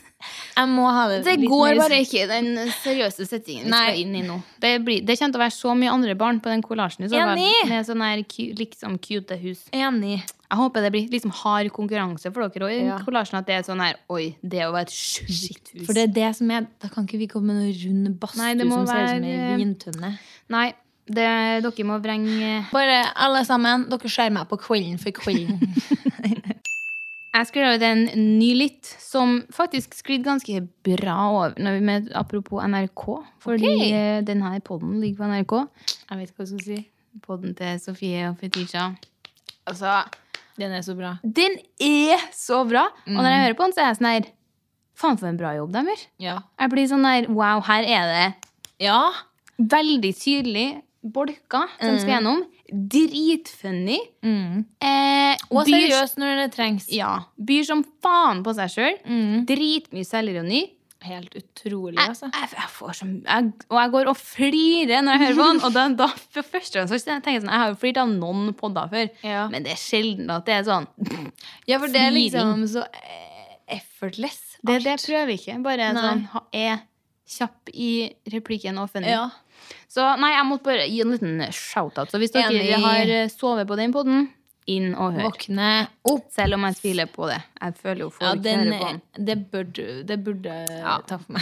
[SPEAKER 1] Jeg må ha det
[SPEAKER 2] Det
[SPEAKER 1] litt
[SPEAKER 2] går
[SPEAKER 1] mer-
[SPEAKER 2] bare ikke i den seriøse settingen vi
[SPEAKER 1] Nei.
[SPEAKER 2] skal inn i nå. Det, blir, det kommer til å være så mye andre barn på den kollasjen. i så fall,
[SPEAKER 1] Enig.
[SPEAKER 2] Med sånne her cu- liksom cute hus.
[SPEAKER 1] Enig.
[SPEAKER 2] Jeg håper det blir liksom hard konkurranse for dere òg i den
[SPEAKER 1] Ja.
[SPEAKER 2] kollasjen. At det er sånn her Oi, det å være et sjukt hus.
[SPEAKER 1] For det er det som er Da kan ikke vi komme med noe rund badstue
[SPEAKER 2] Nei, det må
[SPEAKER 1] som ser ut som
[SPEAKER 2] være-
[SPEAKER 1] ei vintønne.
[SPEAKER 2] Nei, det, dere må vrenge
[SPEAKER 1] Bare alle sammen, dere ser meg på kvelden for kvelden.
[SPEAKER 2] Jeg skrev ut en ny litt som faktisk sklidd ganske bra over. Når vi med, apropos NRK, fordi
[SPEAKER 1] Ok.
[SPEAKER 2] eh, denne podden ligger på NRK.
[SPEAKER 1] <laughs> Jeg vet hva jeg skal si.
[SPEAKER 2] Podden til Sofie og Fetisha. Altså,
[SPEAKER 1] Den er så bra.
[SPEAKER 2] den er så bra! Og når jeg hører på den, så er jeg sånn her Faen, for en bra jobb de gjør.
[SPEAKER 1] Ja.
[SPEAKER 2] Jeg blir sånn der Wow, her er det
[SPEAKER 1] ja.
[SPEAKER 2] veldig tydelig bolker som skal gjennom. Dritfunny.
[SPEAKER 1] Mm.
[SPEAKER 2] Eh,
[SPEAKER 1] Og
[SPEAKER 2] byr-
[SPEAKER 1] seriøst når det trengs.
[SPEAKER 2] Ja. Byr som faen på seg sjøl.
[SPEAKER 1] Mm.
[SPEAKER 2] Dritmye selvironi.
[SPEAKER 1] Helt utrolig,
[SPEAKER 2] Jeg,
[SPEAKER 1] altså.
[SPEAKER 2] jeg, jeg får så jeg, Og jeg går og flirer når jeg hører på den. Og da, da for første gang så tenker jeg sånn Jeg har jo flirt av noen podder før,
[SPEAKER 1] Ja.
[SPEAKER 2] men det er sjelden at det er sånn.
[SPEAKER 1] Ja, for det er liksom så eh, effortless.
[SPEAKER 2] Det, det prøver jeg ikke. Bare
[SPEAKER 1] Nei.
[SPEAKER 2] sånn ha- er kjapp i replikken og funny.
[SPEAKER 1] Ja.
[SPEAKER 2] Så nei, jeg måtte bare gi en liten shout-out. Så hvis dere
[SPEAKER 1] Enig.
[SPEAKER 2] har eh, sovet på den podden, inn og hør.
[SPEAKER 1] Våkne opp.
[SPEAKER 2] Selv om jeg tviler på det. Jeg føler jo
[SPEAKER 1] Ja,
[SPEAKER 2] folk
[SPEAKER 1] den,
[SPEAKER 2] hører på den.
[SPEAKER 1] det burde, det burde
[SPEAKER 2] Ja.
[SPEAKER 1] ta for meg.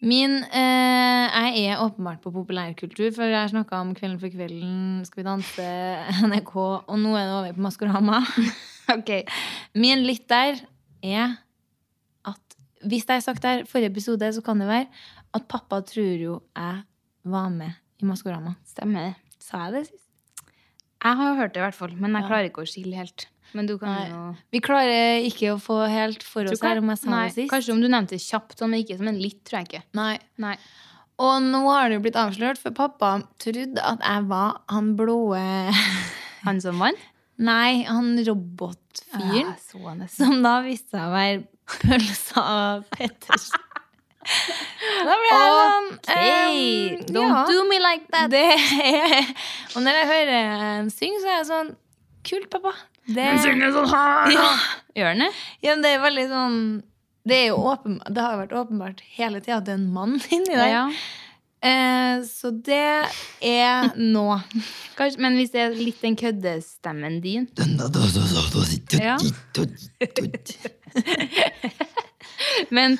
[SPEAKER 1] Min, eh, Jeg er åpenbart på populærkultur, for jeg har snakka om Kvelden for kvelden, Skal vi danse, <laughs> NRK, og nå er det over på Maskorama.
[SPEAKER 2] <laughs>
[SPEAKER 1] <laughs>
[SPEAKER 2] Ok.
[SPEAKER 1] Min litt der er at Hvis jeg har sagt det her i forrige episode, så kan det være at pappa tror jo jeg var med i Maskorama.
[SPEAKER 2] Stemmer det.
[SPEAKER 1] Sa jeg det sist?
[SPEAKER 2] Jeg har hørt det i hvert fall, men jeg
[SPEAKER 1] Ja.
[SPEAKER 2] klarer ikke å skille helt. Men du kan
[SPEAKER 1] Nei.
[SPEAKER 2] jo
[SPEAKER 1] Vi klarer ikke å få helt for
[SPEAKER 2] Tror
[SPEAKER 1] oss
[SPEAKER 2] ikke
[SPEAKER 1] her
[SPEAKER 2] det.
[SPEAKER 1] om jeg sa
[SPEAKER 2] Nei,
[SPEAKER 1] det sist.
[SPEAKER 2] Kanskje om du nevnte det kjapt, sånn, men ikke som en litt, tror jeg ikke.
[SPEAKER 1] Nei.
[SPEAKER 2] Nei.
[SPEAKER 1] Og nå har det jo blitt avslørt, for pappa trodde at jeg var han blå
[SPEAKER 2] Han som vant?
[SPEAKER 1] <laughs>
[SPEAKER 2] <laughs>
[SPEAKER 1] Nei, han robotfyren.
[SPEAKER 2] Ja, Ah, så nesten.
[SPEAKER 1] Som da viste seg å være pølsa Pettersen. Da ble jeg sånn
[SPEAKER 2] Hey,
[SPEAKER 1] ehm,
[SPEAKER 2] don't
[SPEAKER 1] ja.
[SPEAKER 2] do me like that!
[SPEAKER 1] Det er Og når jeg hører han synge, så er jeg sånn Kult, pappa. Det,
[SPEAKER 2] sånn
[SPEAKER 1] ja,
[SPEAKER 2] Gjør han det?
[SPEAKER 1] ja, men det er veldig sånn Det, er jo åpenbart, det har jo vært åpenbart hele tida at det er en mann inni der.
[SPEAKER 2] Ja.
[SPEAKER 1] Eh, så det er nå.
[SPEAKER 2] Kanskje, men hvis det er litt den køddestemmen din <laughs> Ja.
[SPEAKER 3] Ja.
[SPEAKER 2] Men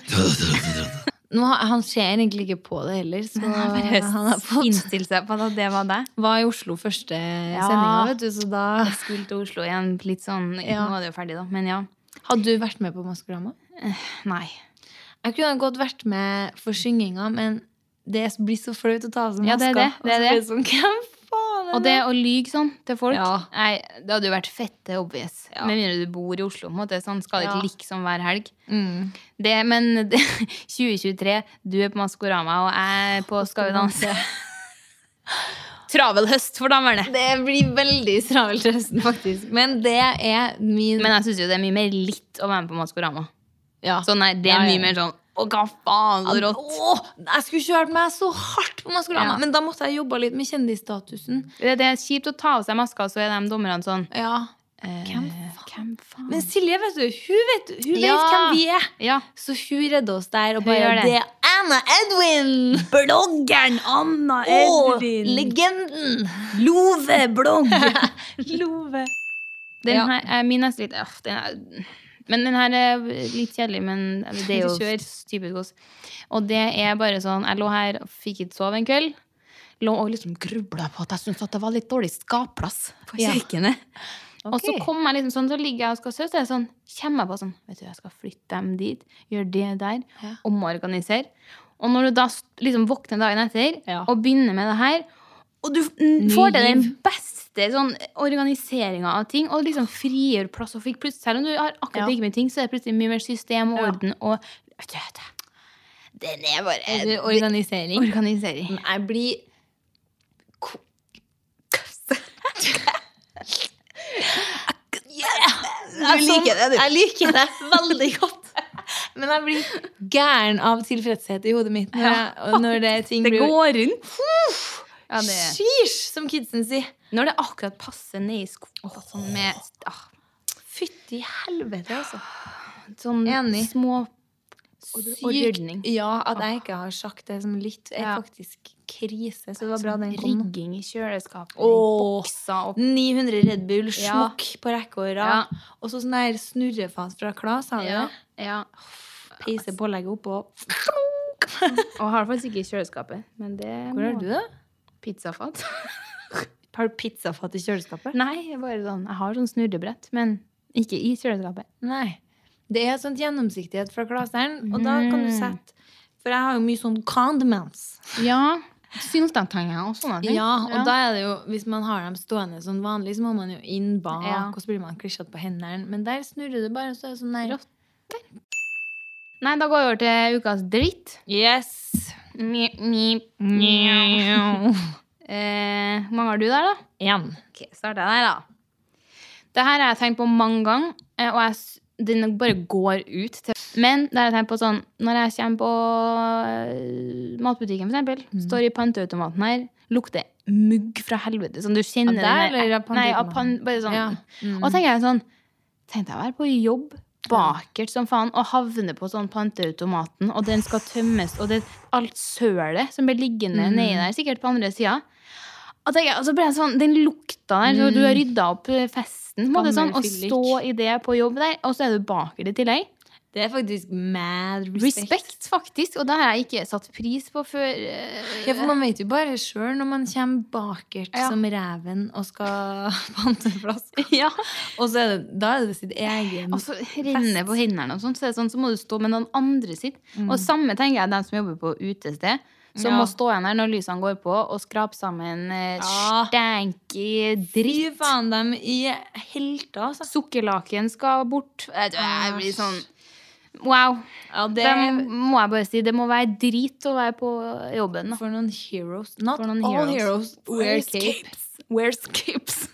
[SPEAKER 1] Nå, har- han ser egentlig ikke på det heller, så
[SPEAKER 2] Men han bare
[SPEAKER 1] han har fått
[SPEAKER 2] innstilt seg på at det var deg.
[SPEAKER 1] Var i Oslo første
[SPEAKER 2] Ja.
[SPEAKER 1] sendinga, vet du, så da
[SPEAKER 2] Jeg skulle til Oslo igjen litt sånn
[SPEAKER 1] Ja.
[SPEAKER 2] Nå er det jo ferdig, da. Men ja.
[SPEAKER 1] Hadde du vært med på Maskorama?
[SPEAKER 2] Nei.
[SPEAKER 1] Jeg kunne godt vært med for synginga, men det blir så flaut å ta av seg
[SPEAKER 2] Ja,
[SPEAKER 1] maska.
[SPEAKER 2] det er det, det
[SPEAKER 1] Og så
[SPEAKER 2] er det.
[SPEAKER 1] blir det sånn, hvem faen er
[SPEAKER 2] Og det å lyge sånn til folk
[SPEAKER 1] Ja.
[SPEAKER 2] Nei, Det hadde jo vært fette obvious.
[SPEAKER 1] Ja.
[SPEAKER 2] Med mindre du bor i Oslo. på en måte, sånn Skal det
[SPEAKER 1] Ja.
[SPEAKER 2] ikke liksom være helg.
[SPEAKER 1] Mm.
[SPEAKER 2] Det, men <laughs> det, 2023, du er på Maskorama, og jeg er på Skal vi danse. Travel høst for damerne.
[SPEAKER 1] <laughs> Det blir veldig travelt høsten, faktisk. Men det er min
[SPEAKER 2] Men jeg syns jo det er mye mer litt å være med på Maskorama.
[SPEAKER 1] ja.
[SPEAKER 2] Så nei, det er
[SPEAKER 1] Ja, ja.
[SPEAKER 2] mye mer sånn Å, hva faen, så rått.
[SPEAKER 1] Åh, jeg skulle kjørt meg så hardt på Maskorama,
[SPEAKER 2] Ja.
[SPEAKER 1] men da måtte jeg jobba litt med kjendisstatusen.
[SPEAKER 2] Det, det er kjipt å ta av seg maska, så er de dommerne sånn
[SPEAKER 1] Ja.
[SPEAKER 2] eh,
[SPEAKER 1] Hvem
[SPEAKER 2] Hvem faen?
[SPEAKER 1] Men Silje, vet du, hun vet, hun
[SPEAKER 2] Ja.
[SPEAKER 1] vet hvem vi er.
[SPEAKER 2] ja.
[SPEAKER 1] Så hun redder oss der og
[SPEAKER 2] Hun
[SPEAKER 1] bare
[SPEAKER 2] gjør det.
[SPEAKER 1] Det er Anna Edwin!
[SPEAKER 2] Bloggeren Anna
[SPEAKER 1] Og legenden! <laughs>
[SPEAKER 2] Loveblogg.
[SPEAKER 1] Love.
[SPEAKER 2] Den
[SPEAKER 1] Ja.
[SPEAKER 2] her er min neste litt Åh, den er, Men den her er litt kjedelig, men det er jo
[SPEAKER 1] Kjør.
[SPEAKER 2] typisk oss. Og det er bare sånn Jeg lå her og fikk ikke sove en kveld. Lå og liksom grubla på at jeg syntes at det var litt dårlig skapplass på
[SPEAKER 1] Ja.
[SPEAKER 2] kjøkkenet. Og så
[SPEAKER 1] Ok.
[SPEAKER 2] kom jeg liksom sånn, så ligger jeg og skal søte, sånn, kommer jeg på sånn, vet du, jeg skal flytte dem dit, gjøre det der,
[SPEAKER 1] Ja.
[SPEAKER 2] omorganisere. Og når du da s- liksom våkner dagen etter,
[SPEAKER 1] Ja.
[SPEAKER 2] og begynner med det her, og du f- n-
[SPEAKER 1] Ny
[SPEAKER 2] får til den
[SPEAKER 1] giv.
[SPEAKER 2] beste sånn, organiseringa av ting, og liksom frigjør plass, og fikk plutselig, selv om du har akkurat
[SPEAKER 1] Ja.
[SPEAKER 2] like mye ting, så er det plutselig mye mer system og
[SPEAKER 1] Ja.
[SPEAKER 2] orden, og vet du, vet du, den er bare
[SPEAKER 1] Eller Organisering.
[SPEAKER 2] organisering.
[SPEAKER 1] Jeg blir ko- Jeg sånn- Jeg liker det veldig godt. Men jeg blir gæren av tilfredshet i hodet mitt når,
[SPEAKER 2] Ja.
[SPEAKER 1] jeg, og når det ting
[SPEAKER 2] <laughs> Det
[SPEAKER 1] blir
[SPEAKER 2] går rundt. Ja, det er.
[SPEAKER 1] Sheesh, som kidsen sier.
[SPEAKER 2] Når det akkurat passer ned i skoene, sånn med... ah,
[SPEAKER 1] Fytti helvete, altså.
[SPEAKER 2] Sånn
[SPEAKER 1] Enig.
[SPEAKER 2] små
[SPEAKER 1] Sykt. Ja, at jeg ikke har sagt det som litt, er
[SPEAKER 2] Ja.
[SPEAKER 1] faktisk krise. Så det var bra den kom. nå.
[SPEAKER 2] sånn Rigging i kjøleskapet.
[SPEAKER 1] Åh.
[SPEAKER 2] i Bokser og
[SPEAKER 1] 900 Red Bull,
[SPEAKER 2] Ja.
[SPEAKER 1] smokk på rekke og
[SPEAKER 2] Ja.
[SPEAKER 1] rad. Og så sånn der snurrefas fra Klas, har du
[SPEAKER 2] ja.
[SPEAKER 1] det? Peise pålegget oppå.
[SPEAKER 2] Og har det faktisk ikke i kjøleskapet. Men det
[SPEAKER 1] Hvor har du det?
[SPEAKER 2] Pizzafat.
[SPEAKER 1] Har du pizzafat i kjøleskapet?
[SPEAKER 2] <laughs> Nei, bare sånn. Jeg har sånn snurrebrett, men ikke i kjøleskapet.
[SPEAKER 1] Nei. Det er sånn gjennomsiktighet fra klaseren, og da kan du
[SPEAKER 2] Mm.
[SPEAKER 1] sette For jeg har jo mye sånn condiments.
[SPEAKER 2] Ja. Syltetenger og sånne ting.
[SPEAKER 1] Ja, og da er det jo Hvis man har dem stående sånn vanlig, så må man jo inn bak,
[SPEAKER 2] Ja.
[SPEAKER 1] og så blir man klissete på hendene. Men der snurrer det bare, så er det sånn der
[SPEAKER 2] Rått. Nei, da går vi over til ukas dritt.
[SPEAKER 1] Yes!
[SPEAKER 2] Mjau, mjau, mjau.
[SPEAKER 1] Mjau.
[SPEAKER 2] Eh, Hvor mange har du der, da?
[SPEAKER 1] Igjen.
[SPEAKER 2] Ok, starter jeg der, da. Det her har jeg tenkt på mange ganger, eh, og jeg, s- den bare går ut. Til. Men det har jeg tenkt på sånn Når jeg kommer på eh, matbutikken, for eksempel,
[SPEAKER 1] Mm.
[SPEAKER 2] står i panteautomaten her, lukter mugg fra helvete. Sånn du kjenner
[SPEAKER 1] Av deg,
[SPEAKER 2] den der-
[SPEAKER 1] eller av
[SPEAKER 2] Nei, av
[SPEAKER 1] panteautomaten?
[SPEAKER 2] pan, bare sånn.
[SPEAKER 1] Ja. Mm.
[SPEAKER 2] Og da tenker jeg sånn Tenkte jeg å være på jobb bakert som faen og havne på sånn panteautomaten, og den skal tømmes, og det alt sølet som blir liggende
[SPEAKER 1] Mm.
[SPEAKER 2] nedi der, sikkert på andre sida. Og, tenker jeg- og så ble jeg sånn, Den lukta der, så du har rydda opp eh, festen, på en måte, sånn,
[SPEAKER 1] Mm. Gammel
[SPEAKER 2] og
[SPEAKER 1] fyllik.
[SPEAKER 2] stå i det på jobb der, og så er du bakert i tillegg.
[SPEAKER 1] Det er faktisk mad respect.
[SPEAKER 2] Respekt, faktisk. Og det har jeg ikke satt pris på før. eh,
[SPEAKER 1] Ja, for man vet jo bare sjøl når man kommer bakert
[SPEAKER 2] Ja.
[SPEAKER 1] som reven og skal <laughs> pante flasker.
[SPEAKER 2] Ja. Altså,
[SPEAKER 1] Og så er det, da er det sitt egen
[SPEAKER 2] Og så renner på hendene og sånn, så, er det sånn, så må du stå med noen andre sitt. Og samme tenker jeg dem som jobber på utested, som
[SPEAKER 1] Mm. Ja.
[SPEAKER 2] må stå igjen her når lysene går på, og skrape sammen eh,
[SPEAKER 1] Ja.
[SPEAKER 2] stanky dritt.
[SPEAKER 1] Fy faen, dem i helter, altså.
[SPEAKER 2] Sukkerlaken skal bort. Jeg, jeg blir sånn Wow.
[SPEAKER 1] Ja, det
[SPEAKER 2] Det må jeg bare si. Det må være drit å være på jobben. Da.
[SPEAKER 1] For noen heroes. Not
[SPEAKER 2] For noen
[SPEAKER 1] all heroes.
[SPEAKER 2] heroes.
[SPEAKER 1] Wear capes. Wear capes.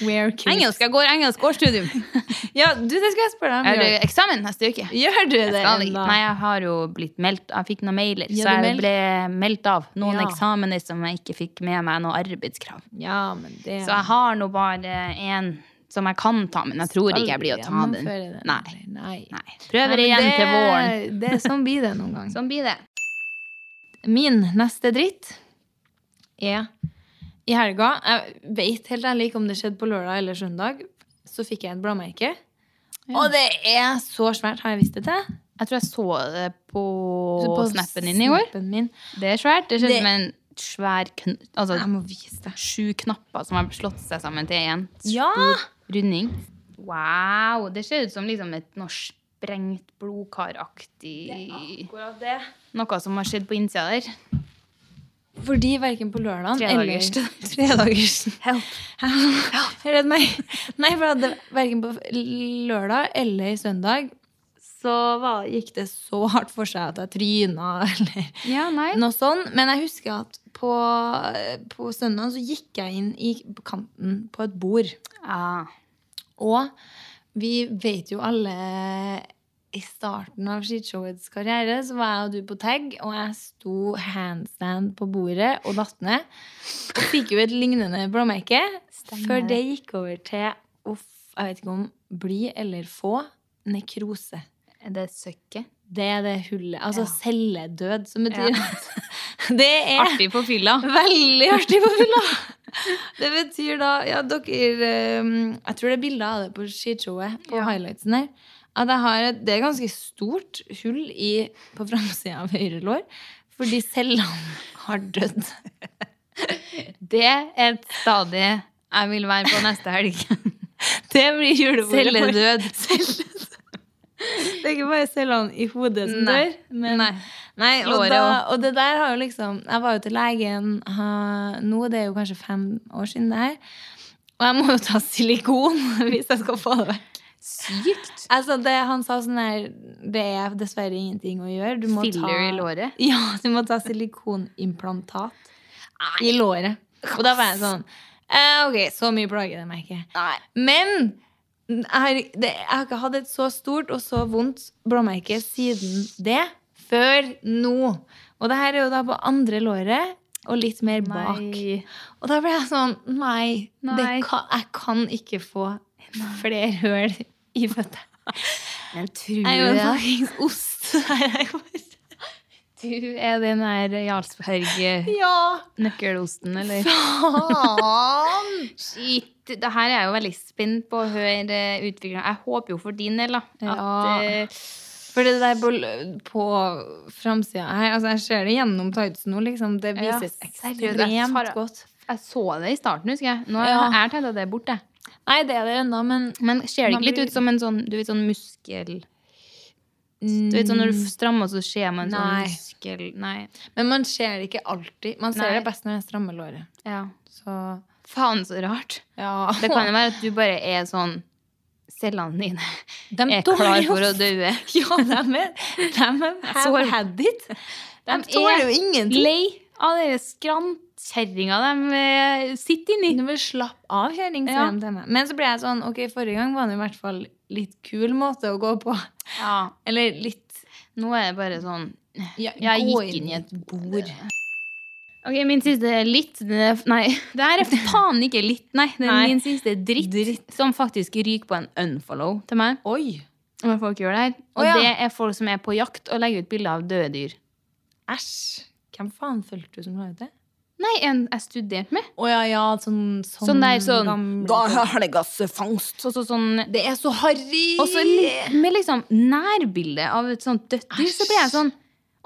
[SPEAKER 1] Wear capes.
[SPEAKER 2] Engelsk. Jeg går engelsk årsstudium.
[SPEAKER 1] <laughs> Ja, du, det skal jeg spørre
[SPEAKER 2] Er
[SPEAKER 1] deg
[SPEAKER 2] det
[SPEAKER 1] om.
[SPEAKER 2] eksamen neste uke?
[SPEAKER 1] Gjør, gjør du det
[SPEAKER 2] Skal jeg-
[SPEAKER 1] ennå?
[SPEAKER 2] Nei, jeg har jo blitt meldt. Jeg fikk noen mailer,
[SPEAKER 1] Ja, du
[SPEAKER 2] så jeg
[SPEAKER 1] meldt.
[SPEAKER 2] ble meldt av noen
[SPEAKER 1] Ja.
[SPEAKER 2] eksamener som jeg ikke fikk med meg noe arbeidskrav.
[SPEAKER 1] Ja, men det
[SPEAKER 2] Så jeg har nå bare én som jeg kan ta, men jeg tror ikke jeg blir å ta den.
[SPEAKER 1] Gjennomføre
[SPEAKER 2] Nei.
[SPEAKER 1] Nei.
[SPEAKER 2] Nei.
[SPEAKER 1] Nei,
[SPEAKER 2] Prøver
[SPEAKER 1] men
[SPEAKER 2] igjen
[SPEAKER 1] det-
[SPEAKER 2] til våren.
[SPEAKER 1] Det er Sånn blir det noen ganger.
[SPEAKER 2] Sånn blir det.
[SPEAKER 1] Min neste dritt er i helga Jeg vet helt ærlig ikke om det skjedde på lørdag eller søndag. Så fikk jeg et bladmerke. Og det er så svært. Har jeg visst det til?
[SPEAKER 2] Jeg tror jeg så det på,
[SPEAKER 1] På
[SPEAKER 2] snappen din i går.
[SPEAKER 1] snappen min.
[SPEAKER 2] Det er svært. Det ser ut
[SPEAKER 1] Det-
[SPEAKER 2] som en svær kn Altså
[SPEAKER 1] Jeg må vise det.
[SPEAKER 2] sju knapper som har slått seg sammen til én
[SPEAKER 1] Ja!
[SPEAKER 2] runding. Wow! Det ser ut som liksom et norsk sprengt blodkaraktig
[SPEAKER 1] Akkurat det.
[SPEAKER 2] Noe som har skjedd på innsida der.
[SPEAKER 1] Fordi verken på lørdagen eller
[SPEAKER 2] Tredagers.
[SPEAKER 1] Tredagersen. Help. Redd meg. Nei, for at det- verken på lørdag eller søndag så var, gikk det så hardt for seg at jeg tryna <laughs> eller
[SPEAKER 2] Ja, nei.
[SPEAKER 1] noe sånn. Men jeg husker at på, på søndagen så gikk jeg inn i kanten på et bord.
[SPEAKER 2] Ah.
[SPEAKER 1] Og vi vet jo alle I starten av skishowets karriere så var jeg og du på tag, og jeg sto handstand på bordet og datt ned. Og fikk jo et lignende blåmerke
[SPEAKER 2] Stemmer.
[SPEAKER 1] før det gikk over til uff, jeg vet ikke om bli eller få nekrose.
[SPEAKER 2] Er det søkket?
[SPEAKER 1] Det er det hullet. Altså
[SPEAKER 2] Ja.
[SPEAKER 1] celledød, som betyr
[SPEAKER 2] Ja.
[SPEAKER 1] at <laughs> Det er
[SPEAKER 2] Artig på fylla.
[SPEAKER 1] Veldig artig på fylla! <laughs> Det betyr da Ja, dere eh, Jeg tror det er bilder av det på skishowet, på highlightsen her. At jeg har et, det er ganske stort hull i, på framsida av høyre lår. Fordi cellene har dødd.
[SPEAKER 2] Det er et stadie jeg vil være på neste helg.
[SPEAKER 1] Det blir julebordet.
[SPEAKER 2] Celledød.
[SPEAKER 1] Celledød. Det er ikke bare cellene i hodet som
[SPEAKER 2] Nei.
[SPEAKER 1] dør. Men
[SPEAKER 2] Nei.
[SPEAKER 1] Nei, og,
[SPEAKER 2] Låret
[SPEAKER 1] da, og det der har jo liksom Jeg var jo til legen ha, nå, det er jo kanskje fem år siden det her. Og jeg må jo ta silikon <laughs> hvis jeg skal få det vekk.
[SPEAKER 2] Sykt.
[SPEAKER 1] Altså, det, han sa sånn her Det er dessverre ingenting å gjøre. Du må
[SPEAKER 2] Filler
[SPEAKER 1] ta,
[SPEAKER 2] i låret?
[SPEAKER 1] Ja, du må ta silikonimplantat i låret. Og da var jeg sånn eh, Ok, så mye plager det meg ikke.
[SPEAKER 2] Nei.
[SPEAKER 1] Men jeg har, det, jeg har ikke hatt et så stort og så vondt blåmerke siden det, før nå. Og det her er jo da på andre låret og litt mer bak.
[SPEAKER 2] Nei.
[SPEAKER 1] Og da ble jeg sånn Nei, Det
[SPEAKER 2] Nei.
[SPEAKER 1] kan, jeg kan ikke få flere høl i føttene.
[SPEAKER 2] Men tror
[SPEAKER 1] Jeg er jo en
[SPEAKER 2] jeg-
[SPEAKER 1] fuckings ost. Nei, jeg bare-
[SPEAKER 2] Du er den der Jarlsberg-nøkkelosten,
[SPEAKER 1] Ja!
[SPEAKER 2] eller?
[SPEAKER 1] Faen!
[SPEAKER 2] Shit. Det her er jeg jo veldig spent på å høre eh, utviklingen. Jeg håper jo for din del, da. At,
[SPEAKER 1] Ja.
[SPEAKER 2] eh,
[SPEAKER 1] For det der på, l- på framsida her altså Jeg ser det gjennom tightsen nå, liksom. Det
[SPEAKER 2] Ja,
[SPEAKER 1] vises
[SPEAKER 2] seriøst, jeg tar-
[SPEAKER 1] ekstremt godt.
[SPEAKER 2] jeg så det i starten, husker jeg. Nå har
[SPEAKER 1] Ja.
[SPEAKER 2] jeg tenkt at det er borte.
[SPEAKER 1] Nei, det er det ennå, men
[SPEAKER 2] Men ser det
[SPEAKER 1] Man
[SPEAKER 2] ikke litt
[SPEAKER 1] blir-
[SPEAKER 2] ut som en sånn, du vet, sånn muskel... Du
[SPEAKER 1] mm,
[SPEAKER 2] vet sånn Når du strammer, så ser man en sånn
[SPEAKER 1] Nei.
[SPEAKER 2] muskel Nei.
[SPEAKER 1] Men man ser det ikke alltid. Man ser
[SPEAKER 2] Nei.
[SPEAKER 1] det best når jeg strammer låret.
[SPEAKER 2] Ja.
[SPEAKER 1] Så
[SPEAKER 2] Faen, så rart.
[SPEAKER 1] <laughs> ja.
[SPEAKER 2] Det kan jo være at du bare er sånn Cellene dine
[SPEAKER 1] De
[SPEAKER 2] er
[SPEAKER 1] tåler
[SPEAKER 2] klar
[SPEAKER 1] jo-
[SPEAKER 2] for å dø.
[SPEAKER 1] <laughs> Ja, de er, de er have
[SPEAKER 2] Sår.
[SPEAKER 1] had it. De
[SPEAKER 2] De
[SPEAKER 1] tåler
[SPEAKER 2] er
[SPEAKER 1] jo ingenting.
[SPEAKER 2] Lei av dere skrantkjerringa de eh, sitter inni.
[SPEAKER 1] Du må slappe av, kjerring.
[SPEAKER 2] Ja.
[SPEAKER 1] sier de til meg. Men så ble jeg sånn Ok, forrige gang var det i hvert fall litt kul måte å gå på.
[SPEAKER 2] Ja.
[SPEAKER 1] Eller litt
[SPEAKER 2] Nå er det bare sånn
[SPEAKER 1] ja,
[SPEAKER 2] Jeg
[SPEAKER 1] gå
[SPEAKER 2] gikk inn i et
[SPEAKER 1] bord.
[SPEAKER 2] Ok, min siste er litt det er- Nei, det her er faen ikke litt. Nei, det er
[SPEAKER 1] Nei.
[SPEAKER 2] min siste dritt, som faktisk ryker på en unfollow til meg.
[SPEAKER 1] Oi!
[SPEAKER 2] Når folk gjør det her. Og
[SPEAKER 1] Å, ja.
[SPEAKER 2] det er folk som er på jakt og legger ut bilder av døde dyr.
[SPEAKER 1] Æsj. Hvem faen fulgte du som la ut det?
[SPEAKER 2] Nei, en jeg studerte med.
[SPEAKER 1] Å ja, ja, sånn, sånn,
[SPEAKER 2] Sånn der, sånn-
[SPEAKER 1] gamle-
[SPEAKER 3] helgassefangst.
[SPEAKER 2] Så, så, sånn,
[SPEAKER 1] Det er så harry!
[SPEAKER 2] og så li- med liksom nærbilde av et sånt dødt dyr, så blir jeg sånn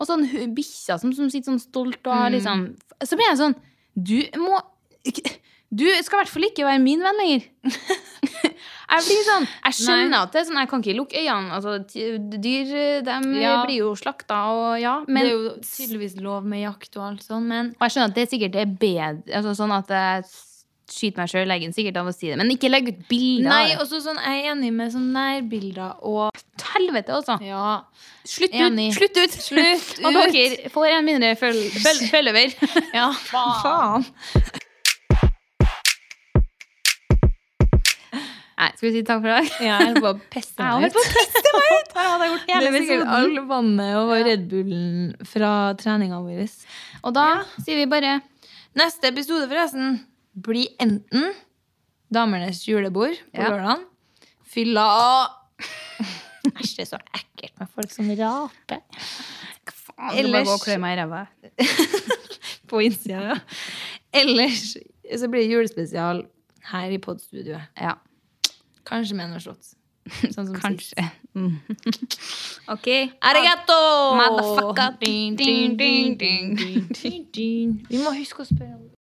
[SPEAKER 2] Og sånn hu- bikkja som, som sitter sånn stolt og har liksom Så blir jeg sånn Du må Du skal i hvert fall ikke være min venn <laughs> lenger. Jeg blir sånn, jeg skjønner at det er sånn, jeg kan ikke lukke øynene. Altså, t- dyr de
[SPEAKER 1] Ja.
[SPEAKER 2] blir jo slakta, og ja.
[SPEAKER 1] det
[SPEAKER 2] Men,
[SPEAKER 1] er jo tydeligvis lov med jakt og alt sånn, men
[SPEAKER 2] og jeg skjønner at det sikkert er bedre altså, Sånn at jeg skyter meg sjøl i leggen sikkert av å si det. Men ikke legg ut bilder.
[SPEAKER 1] Nei,
[SPEAKER 2] av det.
[SPEAKER 1] også sånn, jeg er enig med sånn nærbilder og
[SPEAKER 2] Til helvete, altså.
[SPEAKER 1] Ja.
[SPEAKER 2] Slutt
[SPEAKER 1] Enig.
[SPEAKER 2] ut! Slutt ut!
[SPEAKER 1] Slutt
[SPEAKER 2] Og
[SPEAKER 1] ut.
[SPEAKER 2] dere får en mindre føl
[SPEAKER 1] <laughs>
[SPEAKER 2] føl følger.
[SPEAKER 1] ja. Faen.
[SPEAKER 2] Nei, skal vi si takk for i dag?
[SPEAKER 1] Jeg holdt på å pisse
[SPEAKER 2] Jeg holdt
[SPEAKER 1] meg
[SPEAKER 2] på
[SPEAKER 1] ut.
[SPEAKER 2] å teste meg ut! Her hadde jeg gjort
[SPEAKER 1] Det
[SPEAKER 2] hele
[SPEAKER 1] er sikkert
[SPEAKER 2] episoden.
[SPEAKER 1] all vannet og Red Bullen fra treninga vår.
[SPEAKER 2] Og da sier vi bare
[SPEAKER 1] Neste episode, forresten, blir enten Damenes julebord på
[SPEAKER 2] Ja.
[SPEAKER 1] lørdagen. Fylla Æsj, det er så ekkelt med folk som raper.
[SPEAKER 2] Faen, du må
[SPEAKER 1] Ellers-
[SPEAKER 2] gå og klø meg i ræva.
[SPEAKER 1] På innsida, ja. Ellers så blir det julespesial her i podstudioet.
[SPEAKER 2] Ja.
[SPEAKER 1] Kanskje med noe slått. Sånn som sist.
[SPEAKER 2] Kanskje. Mm. OK.
[SPEAKER 1] Arigato!
[SPEAKER 2] Motherfucker.
[SPEAKER 1] Ding, ding, ding, ding, ding, ding. Vi må huske å spørre om